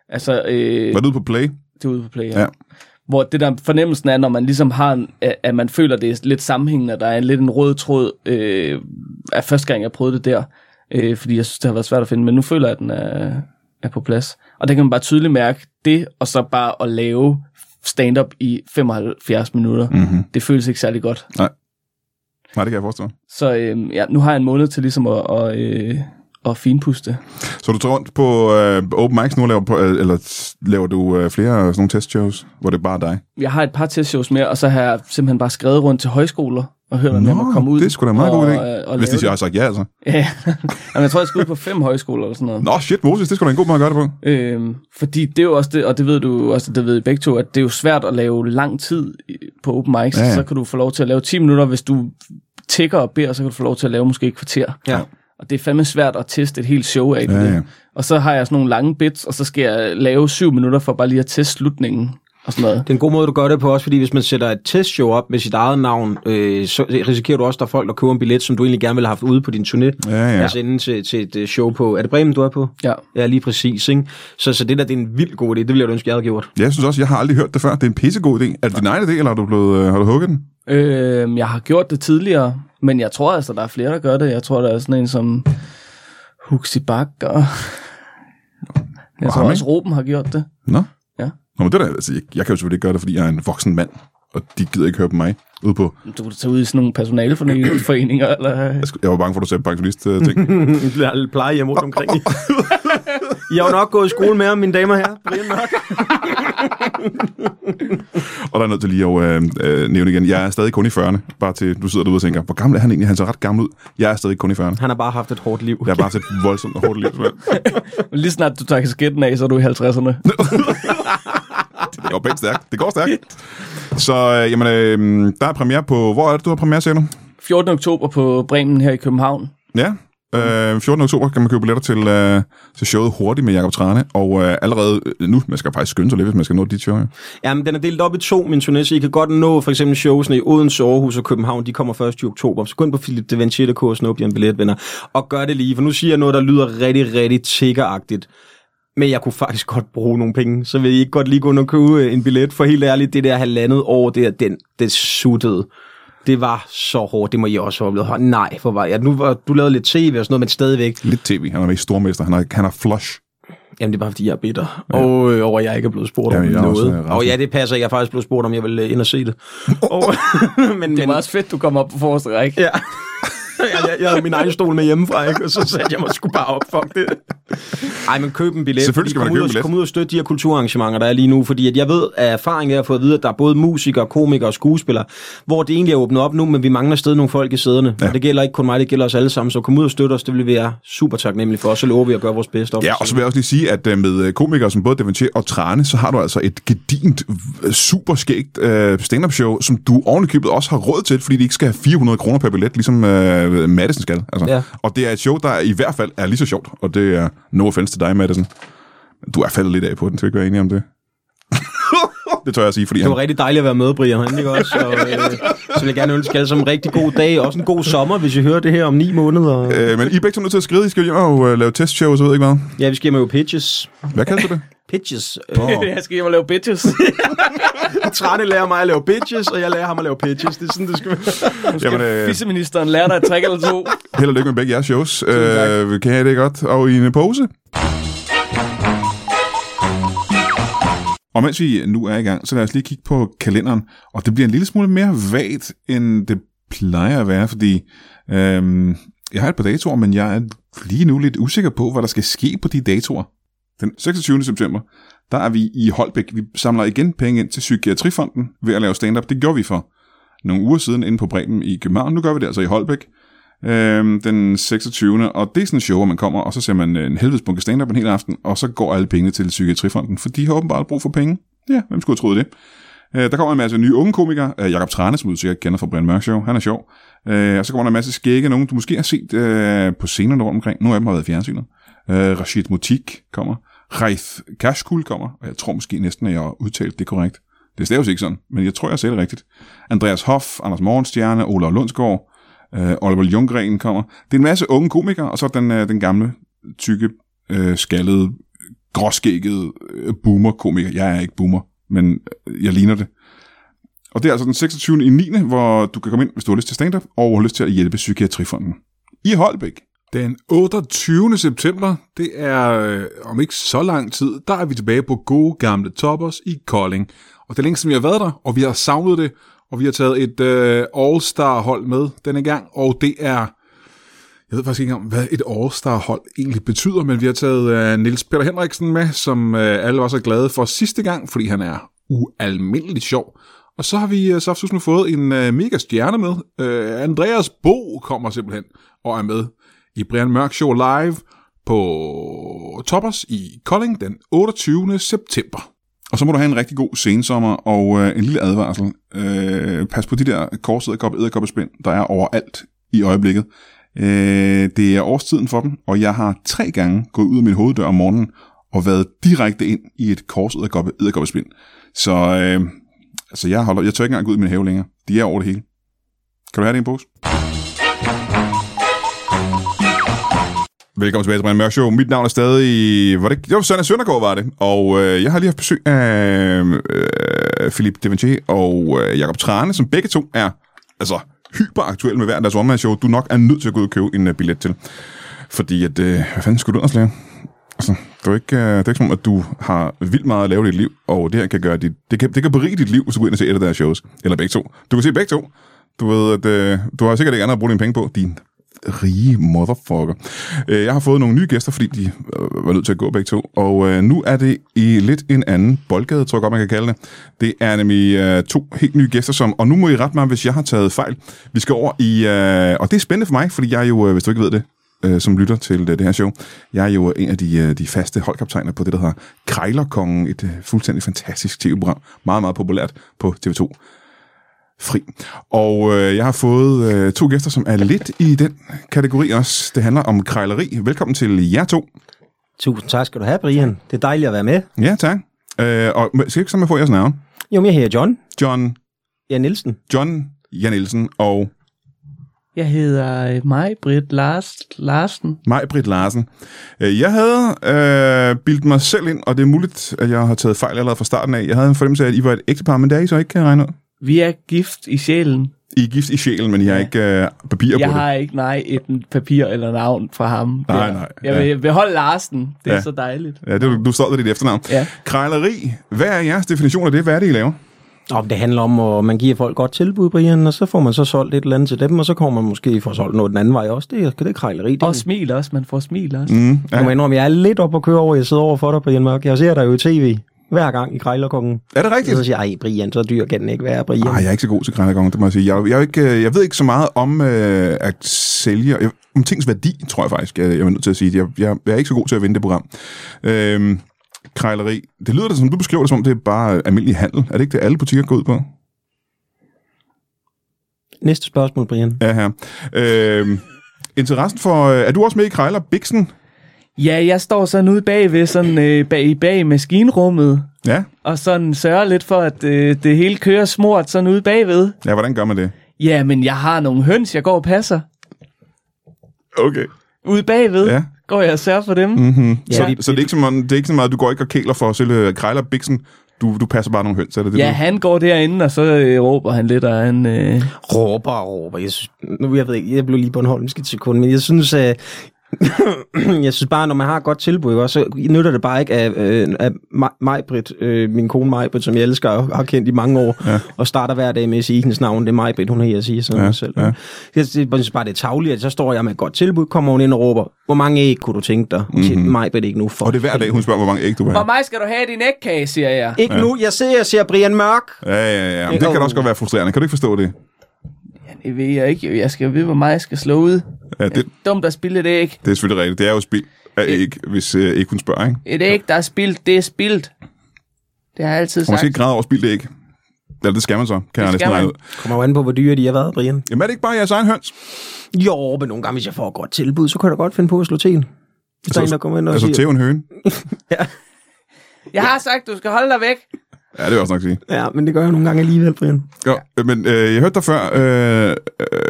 Speaker 4: Altså, øh,
Speaker 1: Var du ude på play?
Speaker 4: det er ude på Play,
Speaker 1: Ja.
Speaker 4: ja. Hvor det der fornemmelsen er, når man ligesom har, en, at- at man føler, det er lidt sammenhængende, og der er en, lidt en rød tråd øh, af første gang, jeg prøvede det der. Øh, fordi jeg synes, det har været svært at finde, men nu føler jeg, at den er, er på plads. Og det kan man bare tydeligt mærke, det og så bare at lave stand-up i 75 minutter, mm.
Speaker 1: Mm-hmm.
Speaker 4: det føles ikke særlig godt.
Speaker 1: Nej, det kan jeg forstå.
Speaker 4: Så øh, ja, nu har jeg en måned til ligesom at, at, øh, at finpuste.
Speaker 1: Så du tager rundt på øh, open mics nu, og laver, på, øh, eller s- laver du øh, flere sådan nogle testshows, hvor det er bare dig?
Speaker 4: Jeg har et par testshows mere, og så har jeg simpelthen bare skrevet rundt til højskoler og hørt, om jeg må komme ud.
Speaker 1: det er sgu da en meget
Speaker 4: og,
Speaker 1: god idé.
Speaker 4: øh, og
Speaker 1: Hvis
Speaker 4: lave
Speaker 1: de siger, har sagt ja, altså.
Speaker 4: Ja, Jamen, jeg tror, jeg skal ud på fem højskoler eller sådan noget.
Speaker 1: Nå, shit, Moses, det skulle da en god måde at gøre det på.
Speaker 4: Øhm, fordi det er jo også det, og det ved du også, det ved I begge to, at det er jo svært at lave lang tid i- på open mics.
Speaker 1: Ja,
Speaker 4: Ja,
Speaker 1: ja.
Speaker 4: Så kan du få lov til at lave 10 minutter, hvis du tigger og beder, så kan du få lov til at lave måske et kvarter.
Speaker 3: Ja.
Speaker 4: Og det er fandme svært at teste et helt show af.
Speaker 1: Ja, ja.
Speaker 4: Ja. Og så har jeg sådan nogle lange bits, og så skal jeg lave syv minutter for bare lige at teste slutningen og sådan noget.
Speaker 3: Det er en god måde, du gør det på også, fordi hvis man sætter et testshow op med sit eget navn, øh, så risikerer du også, at der er folk, der køber en billet, som du egentlig gerne ville have haft ude på din turné.
Speaker 1: Ja, ja.
Speaker 3: Altså inden til, til et øh, show på... Er det Bremen, du er på?
Speaker 4: Ja.
Speaker 3: Ja, lige præcis. Ikke? Så, så det der, det er en vild god idé. Det ville jeg da ønske, jeg havde gjort.
Speaker 1: Jeg synes også, jeg har aldrig hørt det før. Det er en pissegod idé. Er det din egen idé, eller har du, blevet, øh, har du hugget den?
Speaker 4: Øhm, jeg har gjort det tidligere, men jeg tror altså, der er flere, der gør det. Jeg tror, der er sådan en som Huxi Bak, og jeg tror
Speaker 1: ham,
Speaker 4: også,
Speaker 1: ikke?
Speaker 4: Ruben har gjort det.
Speaker 1: Nå?
Speaker 4: Ja.
Speaker 1: Nå, men det der, altså, jeg, jeg kan jo selvfølgelig ikke gøre det, fordi jeg er en voksen mand, og de gider ikke høre på mig ude på...
Speaker 4: Du kan tage ud i sådan nogle personaleforeninger, eller...
Speaker 1: Jeg, skulle- jeg var bange for, at du sagde øh, pensionist-ting.
Speaker 3: Det bliver alle pleje hjemme rundt omkring. jeg har jo nok gået i skole med ham, mine damer og herrer. Brian Mørk.
Speaker 1: Og der er nødt til lige at øh, øh, nævne igen, jeg er stadig kun i 40'erne, bare til du sidder derude og tænker, hvor gammel er han egentlig? Han ser ret gammel ud. Jeg er stadig kun i 40'erne.
Speaker 3: Han har bare haft et hårdt liv.
Speaker 1: Jeg har bare set voldsomt og hårdt liv. simpelthen.
Speaker 4: Men Lige snart du tager kasketten af, så er du i 50'erne.
Speaker 1: Det går pænt stærkt. Det går stærkt. Så øh, jamen, øh, der er premiere på, hvor er det, du har premiere, siger du?
Speaker 4: 14. oktober på Bremen her i København.
Speaker 1: Ja, øh, 14. oktober kan man købe billetter til, øh, til showet Hurtigt med Jakob Trane, og øh, allerede nu, man skal faktisk skynde sig lidt, hvis man skal nå dit show. Ja.
Speaker 3: Jamen, den er delt op i to, min turné, så I kan godt nå for eksempel showsene i Odense, Aarhus og København. De kommer 1. i oktober. Så gå ind på Philip de Vincetta og snup jer en billet, venner. Og gør det lige, for nu siger jeg noget, der lyder rigtig, rigtig tiggeragtigt. Men jeg kunne faktisk godt bruge nogle penge, så vil I ikke godt lige gå ind og købe øh, en billet. For helt ærligt, det der halvandet år, det, er den, det suttede. Det var så hårdt, det må I også have oplevet. Hold, Nej, hvor var jeg. Nu var, du lavede lidt tv og sådan noget, men stadigvæk.
Speaker 1: Lidt tv, han er med i Stormester, han er, han er flush.
Speaker 3: Jamen, det er bare, fordi jeg er bitter. Ja. Og øh, over, at jeg ikke er blevet spurgt
Speaker 1: Jamen,
Speaker 3: om
Speaker 1: jeg er også, øh,
Speaker 3: noget.
Speaker 1: rasende.
Speaker 3: Og ja, det passer. Jeg er faktisk blevet spurgt, om jeg vil øh, ind og se det. og, men,
Speaker 4: Det er
Speaker 3: men,
Speaker 4: meget fedt, du kommer op på forreste række.
Speaker 3: ja. jeg, jeg, jeg havde min egen stol med hjemmefra, ikke? og så satte jeg mig sgu bare op. Fuck det. Ej, men køb en billet.
Speaker 1: Selvfølgelig skal
Speaker 3: Kom
Speaker 1: man
Speaker 3: ud
Speaker 1: købe
Speaker 3: og-
Speaker 1: en billet.
Speaker 3: Kom ud og støtte de her kulturarrangementer, der er lige nu, fordi at jeg ved af erfaring, jeg har fået at vide, at der er både musikere, komikere og skuespillere, hvor det egentlig er åbnet op nu, men vi mangler stadig nogle folk i sæderne. Ja. Og det gælder ikke kun mig, det gælder os alle sammen, så kom ud og støtte os, det vil vi være super taknemmelige for, og så lover vi at gøre vores bedste. op
Speaker 1: Ja,
Speaker 3: til
Speaker 1: og så vil jeg også lige sige, at øh, med øh, komikere som både Devanché og Trane, så har du altså et gedint, øh, superskægt øh, stand-up show, som du ovenikøbet også har råd til, fordi de ikke skal have 400 kroner per billet, ligesom øh, Madison skal. Altså.
Speaker 3: Ja.
Speaker 1: Og det er et show, der i hvert fald er lige så sjovt, og det er no offense til dig, Madison. Du er faldet lidt af på den, skal vi ikke være enige om det? det tør jeg sige, fordi
Speaker 3: Det
Speaker 1: han,
Speaker 3: var rigtig dejligt at være med, Brian. Han, ikke også? Og, øh, så vil jeg gerne ønske jer alle sammen en rigtig god dag. Også en god sommer, hvis I hører det her om ni måneder.
Speaker 1: øh, men I er begge to nødt til at skride, I skal hjem og øh, lave testshow, og så ved jeg ikke hvad.
Speaker 3: Ja, vi skal hjem og jo pitches.
Speaker 1: Hvad kalder du det?
Speaker 3: Pitches. Øh,
Speaker 4: Jeg skal hjem og lave bitches.
Speaker 3: Trane lærer mig at lave pitches, og jeg lærer ham at lave pitches. Det er sådan, det skal være.
Speaker 1: Jamen, øh,
Speaker 4: Fisseministeren lærer dig et trick eller to.
Speaker 1: held og lykke med begge jeres shows. Øh, kan I have det godt? Og i en pose? Og mens vi nu er i gang, så lad os lige kigge på kalenderen. Og det bliver en lille smule mere vagt, end det plejer at være, fordi øhm, jeg har et par datoer, men jeg er lige nu lidt usikker på, hvad der skal ske på de datoer. Den 26. september, der er vi i Holbæk. Vi samler igen penge ind til Psykiatrifonden ved at lave stand-up. Det gjorde vi for nogle uger siden inde på Bremen i København. Nu gør vi det altså i Holbæk øhm, den 26. Og det er sådan en show, hvor man kommer, og så ser man øh, en helvedes bunke stand-up en hel aften, og så går alle pengene til Psykiatrifonden, for de har åbenbart brug for penge. Ja, hvem skulle have troet det? Øh, der kommer en masse nye unge komikere. Øh, Jakob Trane, som du sikkert kender fra Brian Mørk Show. Han er sjov. Øh, og så kommer der en masse skægge, nogen du måske har set øh, på scenerne rundt omkring. Nogle af dem har været i fjernsynet. Øh, Rashid Mutik kommer. Reith Kashkul kommer. Og jeg tror måske næsten, at jeg har udtalt det korrekt. Det staves ikke sådan, men jeg tror, jeg sagde det rigtigt. Andreas Hoff, Anders Morgenstjerne, Olav Lundsgaard, øh, Oliver Ljunggren kommer. Det er en masse unge komikere, og så den, øh, den gamle, tykke, øh, skaldede, gråskæggede øh, boomer-komiker. Jeg er ikke boomer, men øh, jeg ligner det. Og det er altså den 26. i 9., hvor du kan komme ind, hvis du har lyst til stand-up, og har lyst til at hjælpe Psykiatrifonden. I Holbæk.
Speaker 2: Den 28. september, det er øh, om ikke så lang tid, der er vi tilbage på gode gamle toppers i Kolding. Og det er længe siden vi har været der, og vi har savnet det, og vi har taget et øh, all-star hold med denne gang, og det er, jeg ved faktisk ikke engang, hvad et all-star hold egentlig betyder, men vi har taget øh, Nils Peter Henriksen med, som øh, alle var så glade for sidste gang, fordi han er ualmindelig sjov. Og så har vi øh, Saftus nu fået en øh, mega stjerne med. Øh, Andreas Bo kommer simpelthen og er med i Brian Mørk Show live på Toppers i Kolding den 28. september.
Speaker 1: Og så må du have en rigtig god sensommer, og øh, en lille advarsel. Øh, pas på de der korsæderkoppe, æderkoppespind, der er overalt i øjeblikket. Øh, det er årstiden for dem, og jeg har tre gange gået ud af min hoveddør om morgenen og været direkte ind i et korsæderkoppe, æderkoppespind. Så øh, altså jeg, holder, jeg tør ikke engang gå ud i min have længere. De er over det hele. Kan du have det i en pose? Velkommen tilbage til Brian Mørk Show. Mit navn er stadig... Var det, ikke- jo, Søren Søndergaard var det. Og øh, jeg har lige haft besøg af øh, Philippe Devanché og øh, Jakob Trane, som begge to er altså, hyperaktuelle med hver deres one show du nok er nødt til at gå ud og købe en øh, billet til. Fordi at... Øh, hvad fanden skulle du ellers lave? Altså, det er, jo ikke, øh, det er ikke som om, at du har vildt meget at lave i dit liv, og det her kan gøre dit, det, kan, det kan berige dit liv, hvis du går ind og ser et af deres shows. Eller begge to. Du kan se begge to. Du ved, at øh, du har sikkert ikke andet at bruge dine penge på. Din rige motherfucker. Øh, jeg har fået nogle nye gæster, fordi de øh, var nødt til at gå begge to, og øh, nu er det i lidt en anden boldgade, tror jeg godt, man kan kalde det. Det er nemlig øh, to helt nye gæster, som, og nu må I rette mig, hvis jeg har taget fejl. Vi skal over i, øh, og det er spændende for mig, fordi jeg er jo, øh, hvis du ikke ved det, øh, som lytter til øh, det her show. Jeg er jo en af de, øh, de faste holdkaptajner på det, der hedder Krejlerkongen, et øh, fuldstændig fantastisk tv-program. Meget, meget populært på TV2 fri. Og øh, jeg har fået øh, to gæster, som er lidt i den kategori også. Det handler om krejleri. Velkommen til jer to.
Speaker 3: Tusind tak skal du have, Brian. Det er dejligt at være med.
Speaker 1: Ja, tak. Øh, og må- skal jeg ikke sammen få jeres navn?
Speaker 3: Jo, men jeg hedder John.
Speaker 1: John,
Speaker 3: Ja, Nielsen.
Speaker 1: John Jan Nielsen og
Speaker 4: Jeg hedder øh, mig, Britt Lars, Larsen.
Speaker 1: mig, Britt Larsen. Øh, Jeg havde øh, bildt mig selv ind, og det er muligt, at jeg har taget fejl allerede fra starten af. Jeg havde en fornemmelse af, at I var et ægtepar, men det er I så ikke, kan jeg regne ud.
Speaker 4: Vi er gift i sjælen.
Speaker 1: I er gift i sjælen, men I har ikke øh, papirer
Speaker 4: Jeg
Speaker 1: på det.
Speaker 4: har ikke, nej, et papir eller navn fra ham.
Speaker 1: Nej,
Speaker 4: Der.
Speaker 1: nej,
Speaker 4: Jeg
Speaker 1: ja.
Speaker 4: vil beholde Larsen. Det er
Speaker 1: Ja.
Speaker 4: så dejligt.
Speaker 1: Ja, det, du- du står der dit efternavn.
Speaker 4: Ja.
Speaker 1: Krejleri, hvad er jeres definition af det? Hvad er det, I laver?
Speaker 3: Nå, men det handler om, at man giver folk godt tilbud, Brian, og så får man så solgt et eller andet til dem, og så kommer man måske for solgt noget den anden vej også. Det er, det er krejleri. Det er,
Speaker 4: Og smil også, man får smil også.
Speaker 1: Mm, ja.
Speaker 3: jeg må indrømme, jeg er lidt op at køre over, jeg sidder over for dig, Brian Mørk. Jeg ser dig jo i tv hver gang i Krejlerkongen.
Speaker 1: Er det rigtigt?
Speaker 3: Så siger jeg, "Ej, Brian, så dyr kan den ikke være, Brian.
Speaker 1: Nej, jeg er ikke så god til grændergongen, det må jeg sige. Jeg, jeg, er jo ikke, øh, jeg ved ikke så meget om øh, at sælge, jeg, om tings værdi, tror jeg faktisk, øh, jeg, jeg er nødt til at sige det. Jeg, jeg, jeg er ikke så god til at vinde det program. Øhm, krejleri. Det lyder da, som du beskriver det, som om det er bare øh, almindelig handel. Er det ikke det, alle butikker går ud på?
Speaker 3: Næste spørgsmål, Brian.
Speaker 1: Ja, her. Øhm, interessen for... Øh, er du også med i Krejler Biksen?
Speaker 4: Ja, jeg står sådan ude bagved, sådan øh, bag, bag i maskinrummet,
Speaker 1: Ja.
Speaker 4: og sådan sørger lidt for, at øh, det hele kører smurt sådan ude bagved.
Speaker 1: Ja, hvordan gør man det?
Speaker 4: Ja, men jeg har nogle høns, jeg går og passer.
Speaker 1: Okay.
Speaker 4: Ude bagved
Speaker 1: Ja.
Speaker 4: ja. går jeg og sørger for dem.
Speaker 1: Mm-hmm.
Speaker 3: Ja,
Speaker 1: så,
Speaker 3: det-
Speaker 1: så det, er ikke så meget, det er ikke så meget, at du går ikke og kæler for at sælge Krejler Biksen. Du, du passer bare nogle høns, er det det?
Speaker 4: Ja,
Speaker 1: du?
Speaker 4: han går derinde, og så øh, råber han lidt, og han... Øh,
Speaker 3: Råber og råber. Jeg synes, nu jeg ved ikke, jeg blev lige Bornholmsk et sekund, men jeg synes, at jeg synes bare, når man har et godt tilbud, ikke også, så nytter det bare ikke af, øh, af Ma- Majbrit, øh, min kone Majbrit, som jeg elsker og har kendt i mange år, ja. og starter hver dag med at sige hendes navn. Det er Majbrit, hun er her, siger sådan
Speaker 1: Ja,
Speaker 3: ja, selv.
Speaker 1: ja.
Speaker 3: Ja. Jeg, synes- jeg synes bare, det er tavligt, at så står jeg med et godt tilbud, kommer hun ind og råber, hvor mange æg kunne du tænke dig? Hun siger, Majbrit ikke nu. For
Speaker 1: Og det er hver dag, hun spørger, hvor mange æg du har.
Speaker 4: Hvor meget skal du have i din ægkage, siger jeg.
Speaker 3: Ikke ja. nu, jeg ser, jeg ser Brian Mørk.
Speaker 1: Ja, ja, ja. Men det kan da også godt være frustrerende. Kan du ikke forstå det?
Speaker 4: Det ved jeg ikke. jo. Jeg skal jo vide, hvor meget jeg skal slå ud.
Speaker 1: Ja, det,
Speaker 4: Dumt at spille et æg.
Speaker 1: det er selvfølgelig rigtigt. Det er jo spild af æg, hvis øh, ikke hun spørger, ikke?
Speaker 4: Et æg, der er spildt, det er spildt. Det har jeg altid
Speaker 1: Og man
Speaker 4: sagt.
Speaker 1: skal ikke græde over spild af æg. Eller det skal man så, kan jeg næsten
Speaker 4: skal
Speaker 1: regne
Speaker 4: man.
Speaker 1: ud.
Speaker 3: Kommer jo an på, hvor dyre de har været, Brian.
Speaker 1: Jamen er det ikke bare jeres egen høns?
Speaker 3: Jo, men nogle gange, hvis jeg får et godt tilbud, så kan jeg da godt finde på at slå til en. Hvis der er en, der kommer ind og
Speaker 1: Altså
Speaker 3: siger...
Speaker 1: til en høne.
Speaker 4: Jeg har sagt, du skal holde dig væk.
Speaker 1: Ja, det vil jeg også nok sige.
Speaker 3: Ja, men det gør jeg nogle gange alligevel, Brian.
Speaker 1: Jo, øh, men øh, jeg hørte dig før, øh,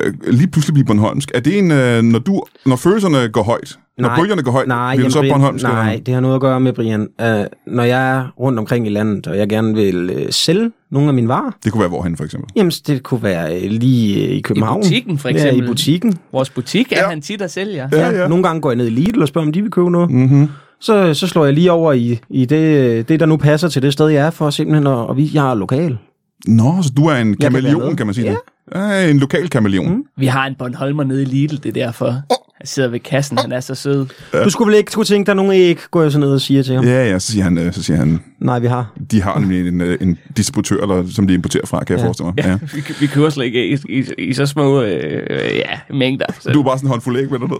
Speaker 1: øh, lige pludselig blive Bornholmsk. Er det en, øh, når, du, når følelserne går højt, når bølgerne går højt,
Speaker 3: nej,
Speaker 1: bliver
Speaker 3: jamen,
Speaker 1: du så
Speaker 3: Brian-
Speaker 1: Bornholmsk? eller?
Speaker 3: Nej, det har noget at gøre med, Brian. Uh, når jeg er rundt omkring i landet, og jeg gerne vil uh, sælge nogle af mine varer,
Speaker 1: Det kunne være hvorhen, for eksempel.
Speaker 3: jamen det kunne være uh, lige uh, i København.
Speaker 4: butikken, for eksempel.
Speaker 3: Ja, i butikken.
Speaker 4: Vores butik er
Speaker 1: Ja.
Speaker 4: ja. han tit og sælger.
Speaker 1: Ja, ja.
Speaker 3: Nogle gange går jeg ned i Lidl og spørger, om de vil købe noget.
Speaker 1: Mm-hmm.
Speaker 3: Så, så slår jeg lige over i, i det, det, der nu passer til det sted, jeg er for simpelthen, og, og vi, jeg er lokal.
Speaker 1: Nå, så du er en
Speaker 3: være
Speaker 1: kameleon,
Speaker 3: med.
Speaker 1: kan man sige det. Ja, en lokal kameleon. Mm.
Speaker 4: Vi har en Bornholmer nede i Lidl, det er derfor. Han sidder ved kassen, han er så sød.
Speaker 3: Du skulle vel ikke skulle tænke, der er nogen æg, går jeg så ned og siger til ham.
Speaker 1: Ja, ja, så siger han, øh, så siger han
Speaker 3: Nej, vi har.
Speaker 1: De har nemlig en, øh, en distributør, eller, som de importerer fra, kan jeg ja.
Speaker 3: Ja.
Speaker 1: forestille mig. Ja.
Speaker 4: Vi, vi kører slet ikke i, i, i så små øh, ja, mængder. Så.
Speaker 1: Du er bare sådan en håndfuld æg med dig ned.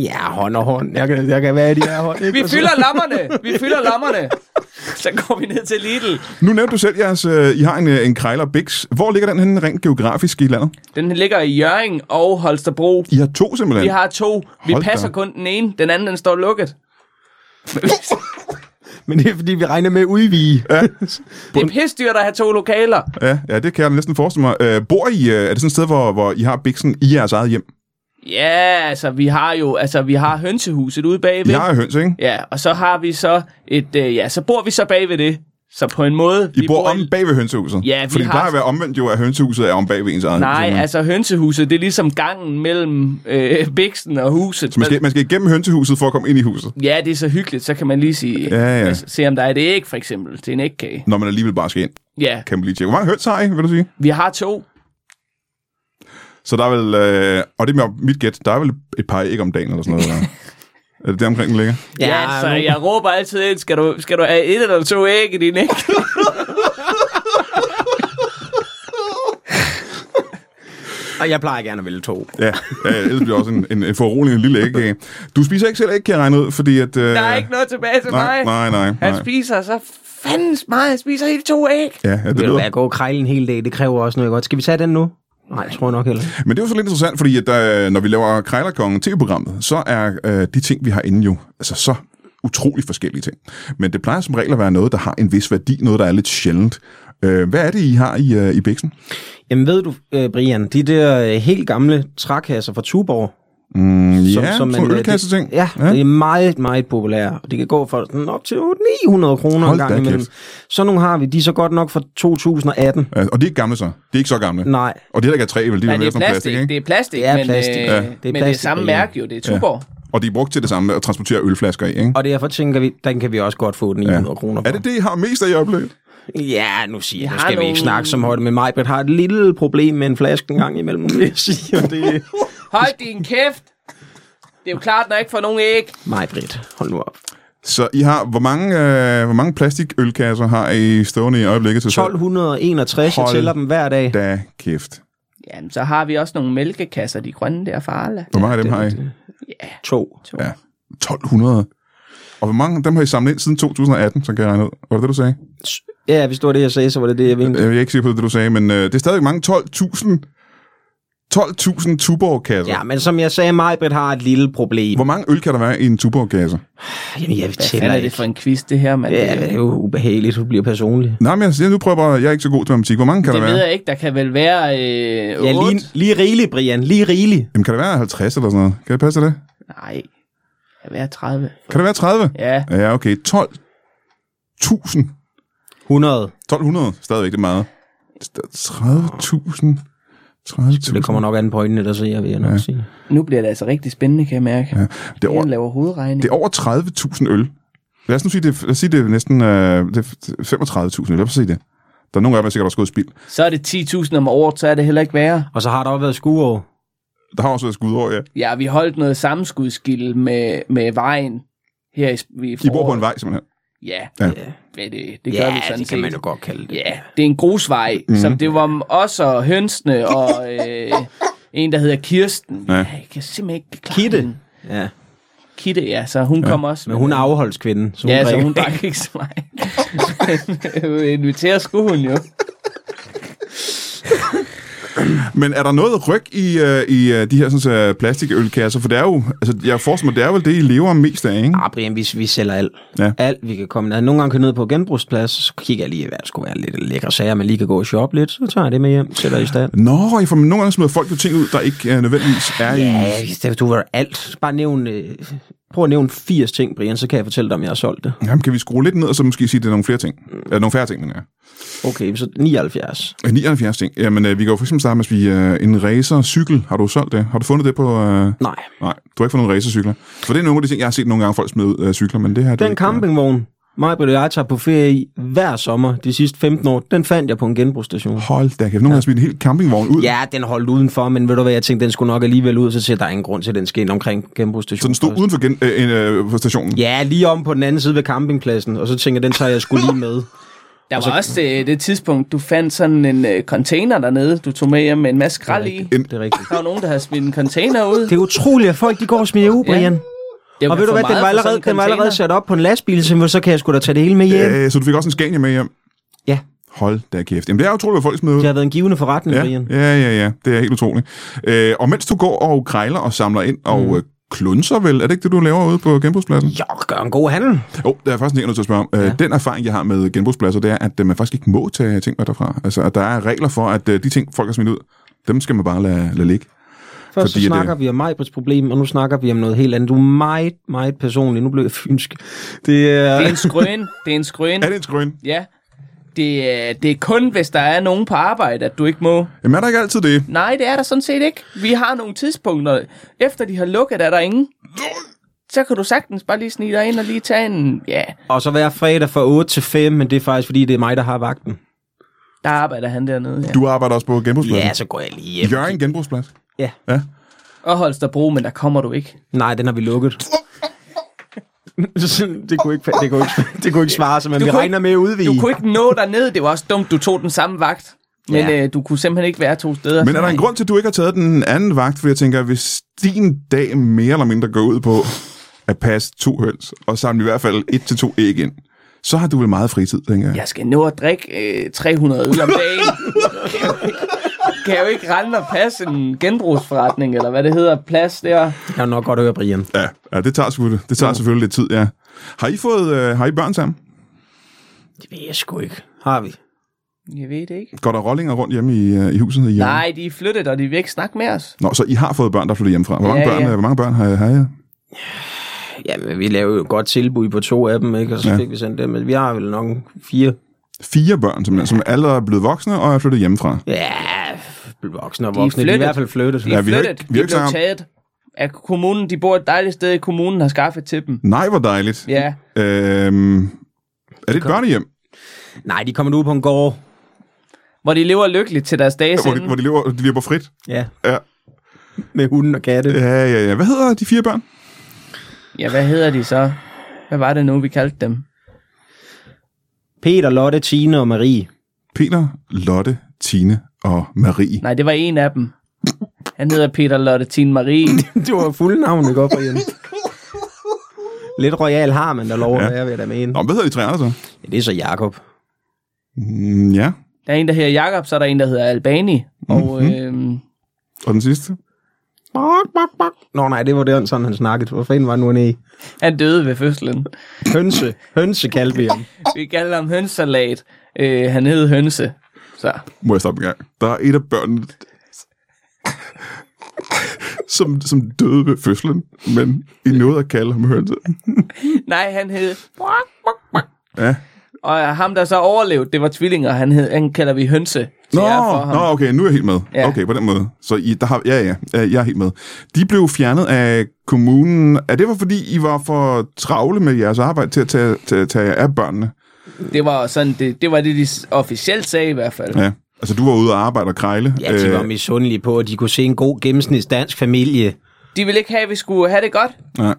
Speaker 3: Ja, hånd og hånd. Jeg kan, jeg kan være i de her hånd. ikke?
Speaker 4: Vi
Speaker 3: Og så-
Speaker 4: fylder lommerne! Vi fylder lommerne! Så går vi ned til Lidl.
Speaker 1: Nu nævnte du selv jeres, øh, I har en, øh, en Krejler Bix. Hvor ligger den henne rent geografisk i landet?
Speaker 4: Den ligger i Jøring og Holstebro.
Speaker 1: I har to simpelthen.
Speaker 4: Vi har to. Vi
Speaker 1: Hold da.
Speaker 4: passer kun den ene. Den anden, den står lukket.
Speaker 3: Men det er, fordi vi regner med at udvige. Ja.
Speaker 4: Det er pisdyrt at have to lokaler.
Speaker 1: Ja, ja, det kan jeg næsten forestille mig. Øh, bor I, øh, er det sådan et sted, hvor, hvor I har Bixen i jeres eget hjem?
Speaker 4: Ja, altså vi har jo, altså vi har hønsehuset ude
Speaker 1: I
Speaker 4: bagved.
Speaker 1: har høns, ikke?
Speaker 4: Ja, og så har vi så et, øh, ja, så bor vi så bagved det. Så på en måde...
Speaker 1: I bor om
Speaker 4: i-
Speaker 1: bag ved hønsehuset?
Speaker 4: Ja, vi
Speaker 1: Fordi det
Speaker 4: har-
Speaker 1: plejer at være omvendt jo, at hønsehuset er om bag ved ens eget hus,
Speaker 4: Nej,
Speaker 1: ikke?
Speaker 4: altså hønsehuset, det er ligesom gangen mellem øh, biksen og huset.
Speaker 1: Så man skal, man skal igennem hønsehuset for at komme ind i huset,
Speaker 4: Ja, det er så hyggeligt, så kan man lige sige,
Speaker 1: Ja, ja.
Speaker 4: altså, se om der er et æg for eksempel til en ægkage.
Speaker 1: når man alligevel bare skal ind.
Speaker 4: Ja,
Speaker 1: Kan man lige tjekke. Hvor mange høns har I, vil du sige?
Speaker 4: vi har to.
Speaker 1: Så der er vel, øh, og det er mit gæt, der er vel et par æg om dagen eller sådan noget. eller? er det der omkring, den ligger?
Speaker 4: Ja,
Speaker 3: altså,
Speaker 4: ja så jeg råber altid ind, skal du, skal du have et eller to æg i din æg?
Speaker 3: Og jeg plejer gerne at vælge to.
Speaker 1: Ja, ja ellers bliver det også en, en, en foruroligende lille ægkage. Du spiser ikke selv æg, kan jeg regne ud, fordi at... Øh,
Speaker 4: Der er ikke noget tilbage til
Speaker 1: nej,
Speaker 4: mig.
Speaker 1: nej, nej,
Speaker 4: Han
Speaker 1: nej.
Speaker 4: spiser så fandens meget, han spiser hele to æg.
Speaker 1: Ja, ja, det
Speaker 3: Ved du hvad,
Speaker 1: lyder.
Speaker 3: jeg går og krejle en hel dag, det kræver også noget godt. Skal vi tage den nu? Nej, jeg tror jeg nok heller.
Speaker 1: Men det er jo så lidt interessant, fordi at, øh, når vi laver Krejlerkongen tv-programmet, så er øh, de ting, vi har inde jo, altså så utrolig forskellige ting. Men det plejer som regel at være noget, der har en vis værdi, noget, der er lidt sjældent. Øh, hvad er det, I har i, øh, i bæksen?
Speaker 3: Jamen ved du, øh, Brian, de der øh, helt gamle trækasser fra Tuborg.
Speaker 1: Mm, som, ja,
Speaker 3: man,
Speaker 1: sådan
Speaker 3: øh,
Speaker 1: nogle ølkasse-ting.
Speaker 3: det- Ja, ja, det er meget, meget populære. Og det kan gå for sådan op til 900 kroner
Speaker 1: Hold
Speaker 3: en gang
Speaker 1: da
Speaker 3: imellem. Sådan nogle har vi. De er så godt nok fra 2018.
Speaker 1: Ja, Øh, Og de er ikke gamle så. De er ikke så gamle.
Speaker 3: Nej,
Speaker 1: Og det er der ikke er træ, vel? De er,
Speaker 4: Men det
Speaker 1: mere
Speaker 4: er
Speaker 1: sådan plastik,
Speaker 4: plastik,
Speaker 1: ikke?
Speaker 4: det er plastik,
Speaker 3: Det er
Speaker 4: men,
Speaker 3: plastik.
Speaker 4: Øh,
Speaker 3: Ja, det er
Speaker 4: men det er
Speaker 3: plastik,
Speaker 4: samme
Speaker 3: ja.
Speaker 4: mærke jo, det er Tuborg. Ja.
Speaker 1: Og de er brugt til det samme, at transportere ølflasker i, ikke?
Speaker 3: og derfor tænker vi, den kan vi også godt få 900 ja. kroner for.
Speaker 1: Er det det, I har mest af i øjeblikket?
Speaker 3: Ja, nu siger jeg, nu
Speaker 4: har
Speaker 3: skal vi
Speaker 4: nogle-
Speaker 3: ikke snakke så højt med mig, men har et lille problem med en flaske en gang imellem, vil jeg sige. Og det...
Speaker 4: Hold din kæft! Det er jo klart, når jeg ikke får nogen æg.
Speaker 3: Mig, Britt, hold nu op.
Speaker 1: Så I har, hvor mange, øh, hvor mange plastikølkasser har I stående i øjeblikket til salg?
Speaker 3: 1261, jeg
Speaker 1: Hold
Speaker 3: tæller dem hver dag.
Speaker 1: Da kæft.
Speaker 4: Jamen, så har vi også nogle mælkekasser, de grønne der fra Arla.
Speaker 1: Hvor mange af dem har I?
Speaker 3: To.
Speaker 4: To.
Speaker 1: Ja. 1200. Og hvor mange af dem har I samlet ind siden 2018, så kan jeg regne ud. Var det det, du sagde?
Speaker 3: Ja, hvis det var det, jeg sagde, så var det det, jeg mente.
Speaker 1: Jeg er ikke sikker på det, du sagde, men øh, det er stadig mange 12.000 12.000 Tuborg-kasser.
Speaker 3: Ja, men som jeg sagde, Majbrit har et lille problem.
Speaker 1: Hvor mange øl kan der være i en Tuborg-kasse?
Speaker 3: Jamen, jeg
Speaker 4: Hvad
Speaker 3: tæller
Speaker 4: fanden er det
Speaker 3: ikke.
Speaker 4: for en quiz, det her, mand?
Speaker 3: Ja, det er jo ubehageligt, du bliver personlig.
Speaker 1: Nej, men jeg, jeg nu prøver jeg bare, jeg er ikke så god til matematik. Hvor mange kan
Speaker 4: det
Speaker 1: der
Speaker 4: ved
Speaker 1: være?
Speaker 4: jeg ikke. Der kan vel være øh,
Speaker 3: Ja,
Speaker 4: otte?
Speaker 3: lige, lige rigeligt, Brian. Lige rigeligt.
Speaker 1: Jamen, kan der være 50 eller sådan noget? Kan det passe det?
Speaker 4: Nej, det kan være 30.
Speaker 1: Kan der være 30?
Speaker 4: Ja,
Speaker 1: Ja, okay. 12.000.
Speaker 3: 100.
Speaker 1: 1200, stadigvæk det er meget. Sta- 30.000. 30.000.
Speaker 3: Det kommer nok an på øjnene, der ser, vil jeg nok
Speaker 1: Ja.
Speaker 3: ja. sige.
Speaker 4: nu bliver det altså rigtig spændende, kan jeg mærke. Ja,
Speaker 1: Det er over,
Speaker 4: laver hovedregning.
Speaker 1: det er over 30.000 øl. Lad os nu sige, det, er- lad os sige, det er næsten øh, det er 35.000 øl. Lad os sige det. Der er nogle af dem, der sikkert også gået spild.
Speaker 4: Så er det 10.000 om året, så er det heller ikke værre.
Speaker 3: Og så har der også været skueår.
Speaker 1: Der har også været skud over, ja.
Speaker 4: Ja, vi holdt noget sammenskudskild med, med vejen her i, i
Speaker 1: I bor på en vej, simpelthen.
Speaker 4: Ja,
Speaker 1: Ja.
Speaker 4: ja det, det gør
Speaker 3: ja,
Speaker 4: vi sådan set.
Speaker 3: det kan man jo godt kalde det.
Speaker 4: Ja, det er en grusvej, mm. som det var om os og hønsene og øh, en, der hedder Kirsten.
Speaker 1: Ja.
Speaker 4: Ja. Jeg kan simpelthen ikke klare
Speaker 3: Kitte.
Speaker 4: hende.
Speaker 3: ja.
Speaker 4: Kitte, ja, så hun ja. kom også.
Speaker 3: Men hun er
Speaker 4: med-
Speaker 3: afholdskvinden, så hun
Speaker 4: Ja, så
Speaker 3: drikker
Speaker 4: hun drak ikke så meget. Inviterer skulle hun jo.
Speaker 1: Men er der noget ryg i, øh, i øh, de her sådan, øh, plastikølkasser? For det er jo, altså, jeg forestiller mig, det er vel det, I lever mest af, ikke?
Speaker 3: Ah, Brian, vi, vi sælger alt.
Speaker 1: Ja.
Speaker 3: Ja. Alt, vi kan komme ned. Nogle gange kan jeg ned på genbrugsplads, så kigger jeg lige, hvad der skulle være lidt lækre sager, man lige kan gå og shoppe lidt, så tager jeg det med hjem, sætter i stand.
Speaker 1: Nå, I får nogle gange smider folk jo ting ud, der ikke øh, nødvendigvis er i...
Speaker 3: Ja, hvis det- du vil alt. Bare nævn, øh, prøv at nævne 80 ting, Brian, så kan jeg fortælle dig, om jeg har solgt det.
Speaker 1: Jamen, kan vi skrue lidt ned, og så måske sige, at det er nogle flere ting? Mm. nogle færre ting, mener jeg.
Speaker 3: Okay, så 79.
Speaker 1: Øh, 79 ting. Jamen, øh, vi kan jo for eksempel starte med, at vi øh, en racercykel. Har du solgt det? Har du fundet det på... Øh...
Speaker 3: Nej,
Speaker 1: Nej, du har ikke fundet nogen racercykler. For det er nogle af de ting, jeg har set nogle gange folk smide ud af cykler, men det her... det er
Speaker 3: den
Speaker 1: ikke, øh,
Speaker 3: campingvogn, mig og jeg tager på ferie i hver sommer de sidste 15 år, den fandt jeg på en genbrugsstation.
Speaker 1: Hold da kæft, nogen har smidt en hel campingvogn ud.
Speaker 3: Ja, den holdt udenfor, men ved du hvad, jeg tænkte, den skulle nok alligevel ud, så siger jeg, der er ingen grund til, at den skal ind omkring genbrugsstationen.
Speaker 1: Så den stod uden for, gen, øh, en, øh, for stationen.
Speaker 3: Ja, lige om på den anden side ved campingpladsen, og så tænker jeg, den tager jeg skulle lige med.
Speaker 4: Der
Speaker 3: Altså-
Speaker 4: var også øh, det tidspunkt, du fandt sådan en øh, container dernede, du tog med hjem med en masse skrald i.
Speaker 1: En-
Speaker 3: Det er rigtigt.
Speaker 4: Der var nogen, der havde smidt en container ud.
Speaker 3: Det er utroligt, at folk de går og smider ud, Brian.
Speaker 4: Det
Speaker 3: Og ved du
Speaker 4: for
Speaker 3: hvad,
Speaker 4: meget
Speaker 3: den var,
Speaker 4: for sådan
Speaker 3: allerede,
Speaker 4: en
Speaker 3: den var allerede
Speaker 4: container.
Speaker 3: sat op på en lastbil, så så kan jeg sgu da tage det hele med hjem.
Speaker 1: Øh, så du fik også en Scania med hjem?
Speaker 3: Ja.
Speaker 1: Hold da kæft. Jamen, det er utroligt, hvad folk smider ud.
Speaker 3: Det har været en givende forretning,
Speaker 1: Ja,
Speaker 3: Brian.
Speaker 1: ja, ja, ja. Det er helt utroligt. Øh, og mens du går og krejler og samler ind og mm. øh, klunser vel, er det ikke det, du laver ude på genbrugspladsen?
Speaker 3: Jo, gør en god handel.
Speaker 1: Jo, der er faktisk en ting, jeg er nødt til at spørge om. Ja. Den erfaring, jeg har med genbrugspladser, det er, at øh, man faktisk ikke må tage ting med derfra. Altså, at der er regler for, at øh, de ting, folk har smidt ud, dem skal man bare lade, lade ligge.
Speaker 3: Først
Speaker 1: Fordi
Speaker 3: så
Speaker 1: at,
Speaker 3: snakker
Speaker 1: øh,
Speaker 3: vi om Majbrits problem, og nu snakker vi om noget helt andet. Du er meget, meget personlig. Nu blev jeg fynsk. Det er...
Speaker 4: Det er en skrøn. Det er en skrøn.
Speaker 1: Er det en skrøn?
Speaker 4: Ja. Det, er- det er kun, hvis der er nogen på arbejde, at du ikke må.
Speaker 1: Jamen, er der ikke altid det?
Speaker 4: Nej, det er der sådan set ikke. Vi har nogle tidspunkter. Efter de har lukket, er der ingen. Så kan du sagtens bare lige snige dig ind og lige tage en... Ja,
Speaker 3: Og så hver fredag fra 8 til 5, men det er faktisk, fordi det er mig, der har vagten.
Speaker 4: der arbejder han dernede. Ja.
Speaker 1: Du arbejder også på genbrugspladsen.
Speaker 3: Ja, altså, så går jeg lige hjem.
Speaker 1: Jørgen genbrugsplads.
Speaker 3: Ja.
Speaker 1: ja.
Speaker 4: Og Holstebro, men der kommer du ikke.
Speaker 3: Nej, den har vi lukket. det, kunne ikke, det, kunne ikke, det kunne ikke svare sig, men
Speaker 4: Du
Speaker 3: vi
Speaker 4: kunne
Speaker 3: regner med at udvige.
Speaker 4: Du kunne ikke nå derned. Det var også dumt, du tog den samme vagt. Men
Speaker 3: Ja.
Speaker 4: øh, du kunne simpelthen ikke være to steder.
Speaker 1: Men er der en grund til, at du ikke har taget den anden vagt? For jeg tænker, hvis din dag mere eller mindre går ud på at passe to høns, og samle i hvert fald et til to æg ind, så har du vel meget fritid, tænker jeg.
Speaker 4: Jeg skal nå at drikke øh, 300 øl om dagen. kan, jeg jo ikke, kan jeg jo ikke rende og passe en genbrugsforretning, eller hvad det hedder, plads der.
Speaker 3: Jeg kan nok godt høre, Brian.
Speaker 1: Ja, ja det tager, sgu, det tager selvfølgelig lidt tid, ja. Har I fået øh, har I børn sammen?
Speaker 3: Det ved jeg sgu ikke. Har vi?
Speaker 4: Jeg ved det ikke.
Speaker 1: Går der rollinger rundt hjemme i, øh, i huset? I Jørgen?
Speaker 4: Nej, de er flyttet, og de vil ikke snakke med os.
Speaker 1: Nå, så I har fået børn, der flytter hjemmefra. Hvor mange,
Speaker 4: Ja,
Speaker 1: ja, børn,
Speaker 4: ja.
Speaker 1: ja. Hvor mange børn har, har jeg?
Speaker 3: Jamen, vi lavede jo et godt tilbud på to af dem, ikke? og så
Speaker 1: Ja.
Speaker 3: ja. fik vi sendt dem. Men vi har vel nok fire.
Speaker 1: Fire børn, som, som alle er blevet voksne og er flyttet hjemmefra.
Speaker 3: Ja, voksne og voksne. De er,
Speaker 4: flyttet.
Speaker 3: i hvert fald flyttet.
Speaker 4: De er
Speaker 1: Ja,
Speaker 4: ja,
Speaker 1: vi har
Speaker 4: flyttet.
Speaker 1: ikke-
Speaker 4: Ikke,
Speaker 1: vi har
Speaker 4: de
Speaker 1: ikke
Speaker 4: blev
Speaker 1: snakket
Speaker 4: taget af kommunen. De bor et dejligt sted, kommunen har skaffet til dem.
Speaker 1: Nej, hvor dejligt.
Speaker 4: Ja,
Speaker 1: Øhm, er det et børnehjem?
Speaker 3: Nej, de kommer nu ud på en gård.
Speaker 4: Hvor de lever lykkeligt til deres dages
Speaker 1: Hvor de,
Speaker 4: ende.
Speaker 1: hvor de lever, de lever frit.
Speaker 3: Ja.
Speaker 1: Ja.
Speaker 3: Med hunden og katte.
Speaker 1: Ja, ja, ja. Hvad hedder de fire børn?
Speaker 4: Ja, hvad hedder de så? Hvad var det nu, vi kaldte dem?
Speaker 3: Peter, Lotte, Tine og Marie.
Speaker 1: Peter, Lotte, Tine og Marie.
Speaker 4: Nej, det var en af dem. Han hedder Peter Lotte Tine Marie.
Speaker 3: det var fulde navn, det går på hjem. Lidt royal har man, der lover, ja. jeg vil da mene.
Speaker 1: Nå, hvad hedder de tre andre så?
Speaker 3: Ja, det er så Jakob.
Speaker 1: Mm, ja.
Speaker 4: Der er en, der hedder Jakob, så er der en, der hedder Albani. Og
Speaker 1: Mhm.
Speaker 4: øh,
Speaker 1: Og den sidste?
Speaker 3: Nå nej, det var det, sådan han snakkede. Hvor fanden var nu en i?
Speaker 4: han døde ved fødslen.
Speaker 3: Hønse. Hønse kaldte vi ham.
Speaker 4: Vi kaldte ham hønsalat. Øh, han hed Hønse. Så.
Speaker 1: Må jeg stoppe en gang? Der er et af børnene, som, som døde ved fødslen, men I nåede at kalde ham hønse.
Speaker 4: Nej, han hed...
Speaker 1: Ja.
Speaker 4: Og ham, der så overlevede, det var tvillinger. Han, hed, han kalder vi Hønse. til
Speaker 1: Nå,
Speaker 4: ære for ham.
Speaker 1: nå, okay, nu er jeg helt med.
Speaker 4: Ja.
Speaker 1: Ja. Okay, på den måde. Så I, der har, ja, ja, ja, jeg er helt med. De blev fjernet af kommunen. Er det var, fordi I var for travle med jeres arbejde til at tage, tage, tage jer af børnene?
Speaker 4: Det var sådan, det, det var det, de s- officielt sagde i hvert fald.
Speaker 1: Ja. Altså, du var ude og arbejde og krejle. Øh,
Speaker 3: Ja, de var misundelige på, at de kunne se en god gennemsnits dansk familie.
Speaker 4: De ville ikke have, at vi skulle have det godt.
Speaker 1: nej.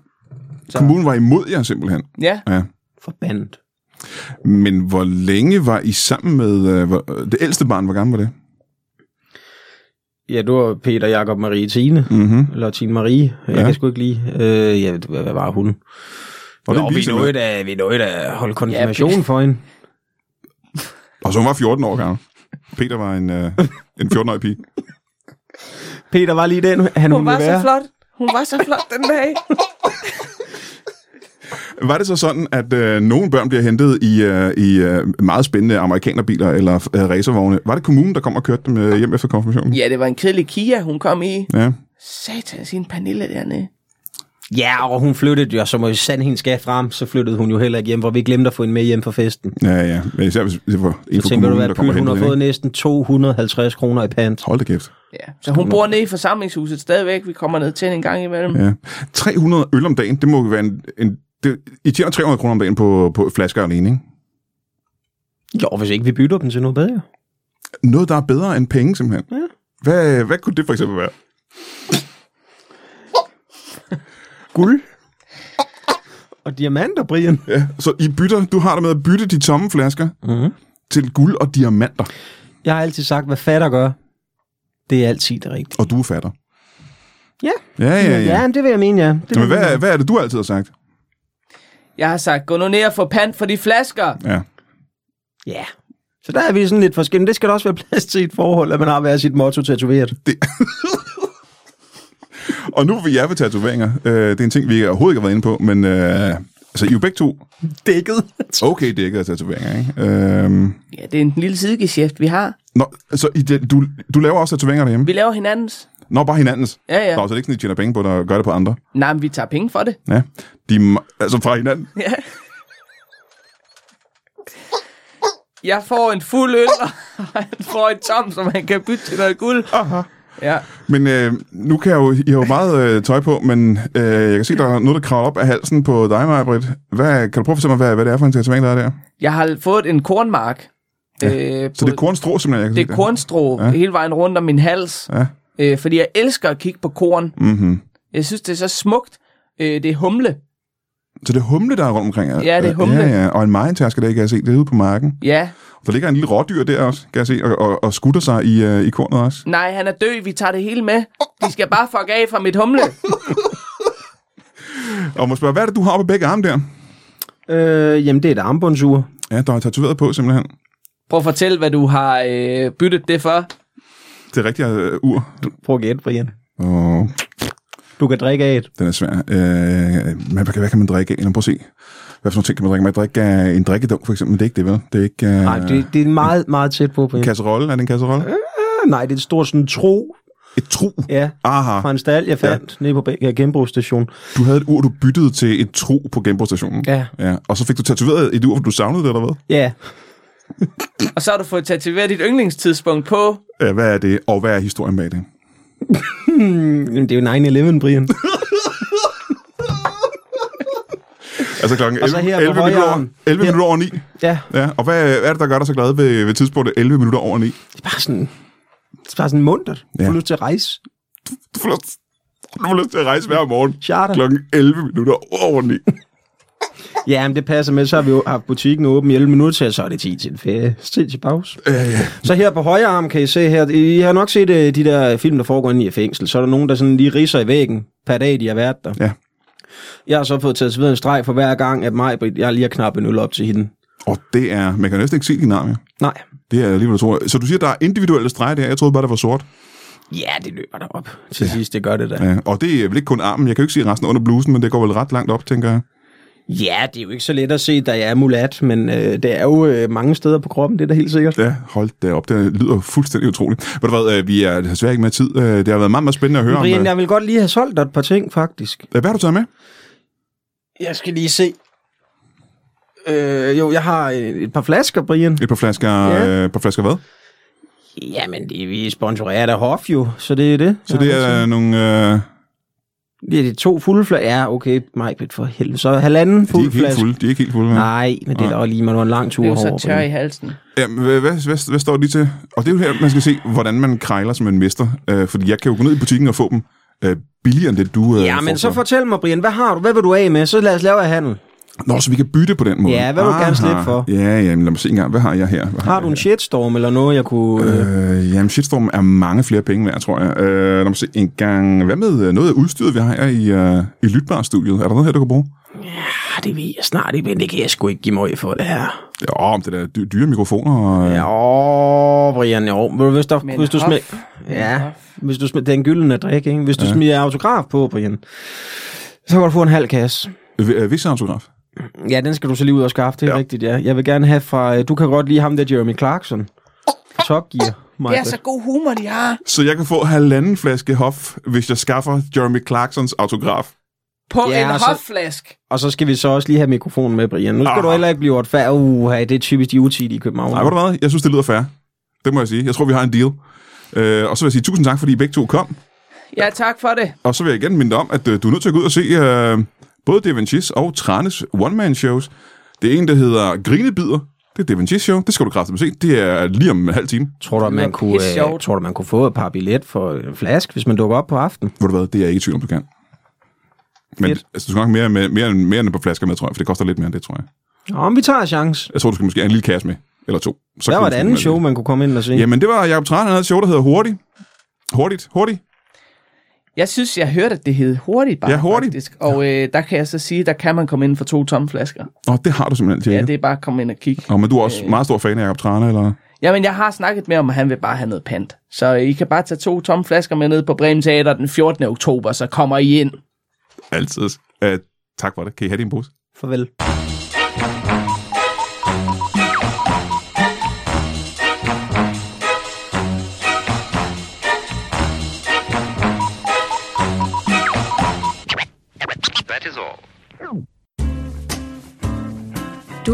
Speaker 1: Kommunen var imod jer simpelthen.
Speaker 4: Ja,
Speaker 1: Ja.
Speaker 3: Forbandet.
Speaker 1: Men hvor længe var I sammen med... Øh, hvor, det ældste barn, hvor gammel var det?
Speaker 3: Ja, du var Peter, Jakob, Marie, Tine.
Speaker 1: Mm-hmm.
Speaker 3: Eller Tine Marie. Jeg
Speaker 1: Ja.
Speaker 3: kan sgu ikke lide. Øh, ja, hvad hvad var hun?
Speaker 1: Og,
Speaker 3: Nå, vi
Speaker 1: det
Speaker 3: nåede
Speaker 1: noget.
Speaker 3: da, vi nåede da holde konfirmation
Speaker 4: Ja,
Speaker 3: for hende.
Speaker 1: og så hun var 14 år gammel. Peter var en, øh, en 14-årig pige.
Speaker 3: Peter var lige den, han
Speaker 4: hun
Speaker 3: ville
Speaker 4: var så
Speaker 3: være.
Speaker 4: flot. Hun var så flot den dag.
Speaker 1: Var det så sådan, at øh, nogle børn bliver hentet i, øh, i øh, meget spændende amerikanerbiler eller øh, racervogne? Var det kommunen, der kom og kørte dem øh, hjem efter konfirmationen?
Speaker 4: Ja, det var en kedelig Kia, hun kom i.
Speaker 1: Ja.
Speaker 4: Satan, sin Pernille dernede.
Speaker 3: Ja, og hun flyttede jo, så må jo sande hende skal frem, så flyttede hun jo heller ikke hjem, hvor vi glemte at få hende med hjem fra festen.
Speaker 1: Ja, ja. Men især hvis det var en
Speaker 3: Så
Speaker 1: fra
Speaker 3: tænker du,
Speaker 1: kommunen,
Speaker 3: hvad
Speaker 1: der kom og
Speaker 3: Pyl, hun
Speaker 1: hentede
Speaker 3: har
Speaker 1: hende.
Speaker 3: fået
Speaker 1: ikke?
Speaker 3: næsten 250 kroner i pant.
Speaker 1: Hold da kæft.
Speaker 4: Ja, så hun bor nede i forsamlingshuset stadigvæk. Vi kommer ned til hende en gang imellem.
Speaker 1: Ja. 300 øl om dagen, det må jo være en... en det, I tjener 300 kroner om dagen på, på flasker alene, ikke?
Speaker 3: Jo, hvis ikke vi bytter dem til noget bedre.
Speaker 1: Noget, der er bedre end penge, simpelthen.
Speaker 3: Ja.
Speaker 1: Hvad, hvad kunne det for eksempel være?
Speaker 3: Guld. Og diamanter, Brian.
Speaker 1: Ja, så I bytter, du har det med at bytte de tomme flasker
Speaker 3: Mm-hmm.
Speaker 1: til guld og diamanter,
Speaker 3: Jeg har altid sagt, hvad fatter gør, det er altid det rigtige.
Speaker 1: og du er fatter.
Speaker 3: Ja.
Speaker 1: Ja, ja, ja.
Speaker 3: ja men det vil jeg mene, ja. Det vil
Speaker 1: Jamen,
Speaker 3: jeg
Speaker 1: hvad,
Speaker 3: mene.
Speaker 1: hvad er det, du altid har sagt?
Speaker 4: Jeg har sagt, gå nu ned og få pant for de flasker.
Speaker 1: Ja.
Speaker 3: Ja. Så der er vi sådan lidt forskellige. Det skal der også være plads til i et forhold, at man har hver sit motto tatoveret.
Speaker 1: Og nu vil jeg ved tatoveringer. Øh, det er en ting, vi overhovedet ikke har været inde på, men øh, altså, I er jo begge to
Speaker 3: Dækket.
Speaker 1: okay dækket af tatoveringer, ikke? Øh,
Speaker 4: Ja, det er en lille sidegeschæft, vi har.
Speaker 1: nå, så I, det, du, du laver også tatoveringer derhjemme?
Speaker 4: Vi laver hinandens.
Speaker 1: Nå, bare hinandens.
Speaker 4: Ja, ja.
Speaker 1: Nå, så det er ikke sådan, I tjener penge på det og gør det på andre.
Speaker 4: Nej, men vi tager penge for det.
Speaker 1: Ja. De, er ma- altså fra hinanden.
Speaker 4: Ja. Jeg får en fuld øl, og han får en tom, som han kan bytte til noget guld.
Speaker 1: Aha.
Speaker 4: Ja.
Speaker 1: Men øh, nu kan jeg jo, I har jo meget øh, tøj på, men øh, jeg kan se, der er noget, der kravler op af halsen på dig, maja Britt. Hvad, kan du prøve at fortælle mig, hvad, hvad det er for en tatovering, der er der?
Speaker 4: Jeg har fået en kornmark. Ja. Øh,
Speaker 1: Så det er kornstrå, simpelthen, jeg kan
Speaker 4: det
Speaker 1: se
Speaker 4: er kornstrå ja. hele vejen rundt om min hals.
Speaker 1: Ja.
Speaker 4: Øh, fordi jeg elsker at kigge på korn.
Speaker 1: Mm-hmm.
Speaker 4: Jeg synes, det er så smukt. Øh, det er humle.
Speaker 1: Så det er humle, der er rundt omkring.
Speaker 4: Ja, det er humle.
Speaker 1: Ja, ja. Og en majentaske, der kan jeg se, det er ude på marken.
Speaker 4: Ja.
Speaker 1: Der ligger en lille rådyr der også, kan jeg se, og, og, og skutter sig i, øh, i kornet også.
Speaker 4: Nej, han er død. Vi tager det hele med. De skal bare fuck af fra mit humle.
Speaker 1: Og må spørge, hvad er det, du har på begge arme der?
Speaker 3: Øh, jamen, det er et armbåndsur.
Speaker 1: Ja, der er tatoveret på simpelthen.
Speaker 4: Prøv at fortælle, hvad du har øh, byttet det for.
Speaker 1: Det rigtige øh, ur.
Speaker 3: Prøv at gætte, Brian.
Speaker 1: Åh,
Speaker 3: Du kan drikke af et.
Speaker 1: den er svær. Øh, men hvad, kan- hvad kan man drikke af? Eller prøv at se. Hvad for nogle ting kan man drikke? Man kan drikke af en drikkedunk, for eksempel. Men det er ikke det, vel? Det er ikke... Øh,
Speaker 3: Nej, det, det er Øh? meget, meget tæt på, Brian.
Speaker 1: Kasserolle? Er det en kasserolle?
Speaker 3: Nej, det er et stort sådan tro,
Speaker 1: Et tro.
Speaker 3: ja,
Speaker 1: Aha.
Speaker 3: fra en stald, jeg fandt ja. nede på Bæk- ja, genbrugsstation.
Speaker 1: Du havde et ur, du byttede til et tro på genbrugsstationen.
Speaker 3: Ja.
Speaker 1: ja. Og så fik du tatoveret et ur, for du savnede det, eller hvad?
Speaker 3: Ja,
Speaker 4: Og så har du fået tatoveret dit yndlingstidspunkt på.
Speaker 1: Ja, Hvad er det, og hvad er historien bag det?
Speaker 3: Mm, Jamen, det er jo 9-11, Brian.
Speaker 1: Altså klokken
Speaker 3: Og så
Speaker 1: 11,
Speaker 3: her på
Speaker 1: 11, minutter, over,
Speaker 3: højrearmen.
Speaker 1: 11
Speaker 3: Her.
Speaker 1: minutter over 9.
Speaker 3: Ja,
Speaker 1: Ja, og hvad, hvad er det, der gør dig så glad ved, ved tidspunktet 11 minutter over 9?
Speaker 3: det er bare sådan, det er bare sådan muntert. Du
Speaker 1: Ja.
Speaker 3: får lyst til at rejse.
Speaker 1: Du får lyst, du får lyst til at rejse hver morgen
Speaker 3: Charter.
Speaker 1: klokken 11 minutter over 9.
Speaker 3: Ja, men det passer med. Så har vi jo haft butikken åben i 11 minutter til, og så er det 10 til en ferie. Tid til pause.
Speaker 1: Ja, ja.
Speaker 3: Så her på højre arm kan I se her, I har nok set øh, de der film, der foregår inde i et fængsel. Så er der nogen, der sådan lige riser i væggen per dag, de har været der.
Speaker 1: Ja.
Speaker 3: Jeg har så fået tatoveret en streg for hver gang, at mig, jeg lige har knappet en øl op til hende.
Speaker 1: Og det er, man kan næsten ikke se din arm, ja.
Speaker 3: Nej.
Speaker 1: Det er alligevel, tror jeg. Så du siger, der er individuelle streger der. Jeg troede bare, det var sort.
Speaker 3: Ja, det løber der op til sidst, det gør det da.
Speaker 1: Ja. Og det er vel ikke kun armen. Jeg kan jo ikke se resten under blusen, men det går vel ret langt op, tænker jeg.
Speaker 3: Ja, det er jo ikke så let at se, da jeg er mulat, men øh, det er jo øh, mange steder på kroppen, det er da helt sikkert.
Speaker 1: Ja, hold da op. Det lyder fuldstændig utroligt. Ved du hvad, øh, vi er desværre ikke med tid. Øh, Det har været meget, meget spændende at høre om.
Speaker 3: Brian,
Speaker 1: øh,
Speaker 3: jeg vil godt lige have solgt dig et par ting, faktisk.
Speaker 1: Hvad har du taget med?
Speaker 3: Jeg skal lige se. Øh, jo, jeg har øh, et par flasker, Brian.
Speaker 1: Et par flasker,
Speaker 3: Ja.
Speaker 1: ja. øh, par flasker hvad?
Speaker 3: Jamen, det, vi sponsorerer da Hof jo, så det er det.
Speaker 1: Så det er øh, nogle... Øh,
Speaker 3: Det er de to fulde flasker. Ja, okay, Majbrit, for helvede. Så halvanden
Speaker 1: de er
Speaker 3: fuld
Speaker 1: ikke helt
Speaker 3: flaske.
Speaker 1: fulde. De er ikke helt fulde. vel?
Speaker 3: Nej, men det er da også lige, man var en lang tur
Speaker 4: Det er jo
Speaker 3: herovre.
Speaker 4: så tør i
Speaker 3: Brian.
Speaker 4: halsen.
Speaker 1: Jamen, hvad, hvad, hvad, hvad står de til? Og det er jo her, man skal se, hvordan man krejler som en mester. Øh, fordi jeg kan jo gå ned i butikken og få dem øh, billigere end det, du øh,
Speaker 3: Ja, men så
Speaker 1: foreslår.
Speaker 3: fortæl mig, Brian, hvad har du? Hvad vil du af med? Så lad os lave af handel.
Speaker 1: Nå, så vi kan bytte på den måde.
Speaker 3: Ja, hvad vil du gerne slippe for?
Speaker 1: Ja, ja, men lad mig se engang. Hvad har jeg her? Hvad
Speaker 3: Har du en shitstorm eller noget, jeg kunne... Øh,
Speaker 1: Øh, jamen, shitstorm er mange flere penge værd, tror jeg. Øh, lad mig se en gang. Hvad med øh, noget af udstyret, vi har her i, øh, i Lytbar-studiet? Er der noget her, du kan bruge?
Speaker 3: ah, det ved jeg snart ikke, men det kan jeg sgu ikke give mig for det her.
Speaker 1: Ja, om det der dy- dyre mikrofoner. Og, øh,
Speaker 3: Ja, åh, Brian, jo. Ved du, Hvis, der,
Speaker 4: Men
Speaker 3: hvis du
Speaker 4: hof.
Speaker 3: smæk...
Speaker 4: Men
Speaker 3: Ja,
Speaker 4: hof.
Speaker 3: hvis du smæk... Det er en gyldne drik, ikke? Hvis du ja. smider autograf på, Brian, så kan du få en halv kasse.
Speaker 1: øh, Hvis autograf.
Speaker 3: Ja, den skal du så lige ud og skaffe, det er ja. rigtigt, ja. Jeg vil gerne have fra... øh, Du kan godt lide ham der, Jeremy Clarkson. fra Top Gear.
Speaker 4: Det
Speaker 3: Michael.
Speaker 4: er så god humor, de har.
Speaker 1: Så jeg kan få halvanden flaske hof, hvis jeg skaffer Jeremy Clarksons autograf.
Speaker 4: På
Speaker 3: Ja,
Speaker 4: en
Speaker 3: og så-
Speaker 4: hofflask.
Speaker 3: Og så skal vi så også lige have mikrofonen med, Brian. Nu skal
Speaker 1: Ah.
Speaker 3: du heller ikke blive retfærdig. Uh, det er typisk de utidige i København.
Speaker 1: Nej, ved du hvad? Jeg synes, det lyder fair. Det må jeg sige. Jeg tror, vi har en deal. Øh, og så vil jeg sige tusind tak, fordi I begge to kom.
Speaker 4: Ja, tak for det.
Speaker 1: Og så vil jeg igen minde dig om, at øh, du er nødt til at gå ud og se øh, både Devanchis og Tranes one-man-shows. Det er en, der hedder Grinebider. Det er Devanchis show. Det skal du kraftigt se. Det er lige om en halv time.
Speaker 3: Tror du, at man
Speaker 4: lyder
Speaker 3: kunne,
Speaker 4: pisse
Speaker 3: øh,
Speaker 4: sjovt.
Speaker 3: tror du, man kunne få et par billet for en flaske, hvis man dukker op på aften?
Speaker 1: Ved du hvad? Det er jeg ikke i tvivl om, du kan. Men
Speaker 3: Fedt.
Speaker 1: altså, du skal nok mere, med, mere, end- mere end et par flasker med, tror jeg, for det koster lidt mere end det, tror jeg.
Speaker 3: Nå, men vi tager en chance.
Speaker 1: Jeg tror, du skal måske have en lille kasse med, eller to. Så
Speaker 3: Der
Speaker 1: kan
Speaker 3: var et
Speaker 1: du sgu
Speaker 3: andet
Speaker 1: med
Speaker 3: show,
Speaker 1: det.
Speaker 3: man kunne komme ind og se.
Speaker 1: Jamen, det var Jacob Tran, han havde et show, der hedder Hurtigt. Hurtigt, hurtigt.
Speaker 4: Jeg synes, jeg hørte, at det hed hurtigt bare.
Speaker 1: Ja, hurtigt.
Speaker 4: Faktisk. Og øh, der kan jeg så sige, der kan man komme ind for to tomme flasker.
Speaker 1: Åh, det har du simpelthen,
Speaker 4: Ja,
Speaker 1: Tjekke.
Speaker 4: det er bare at komme ind og kigge.
Speaker 1: Og men du er
Speaker 3: Øh.
Speaker 1: også meget stor fan af Jacob Trane, eller?
Speaker 4: Jamen, jeg har snakket med om, at han vil bare have noget pant. Så øh, I kan bare tage to tomme flasker med ned på Bremen Teater den 14. oktober, så kommer I ind.
Speaker 1: Altid. Uh, tak for det. Kan I have din pose?
Speaker 3: Farvel.
Speaker 5: That is all.
Speaker 6: Du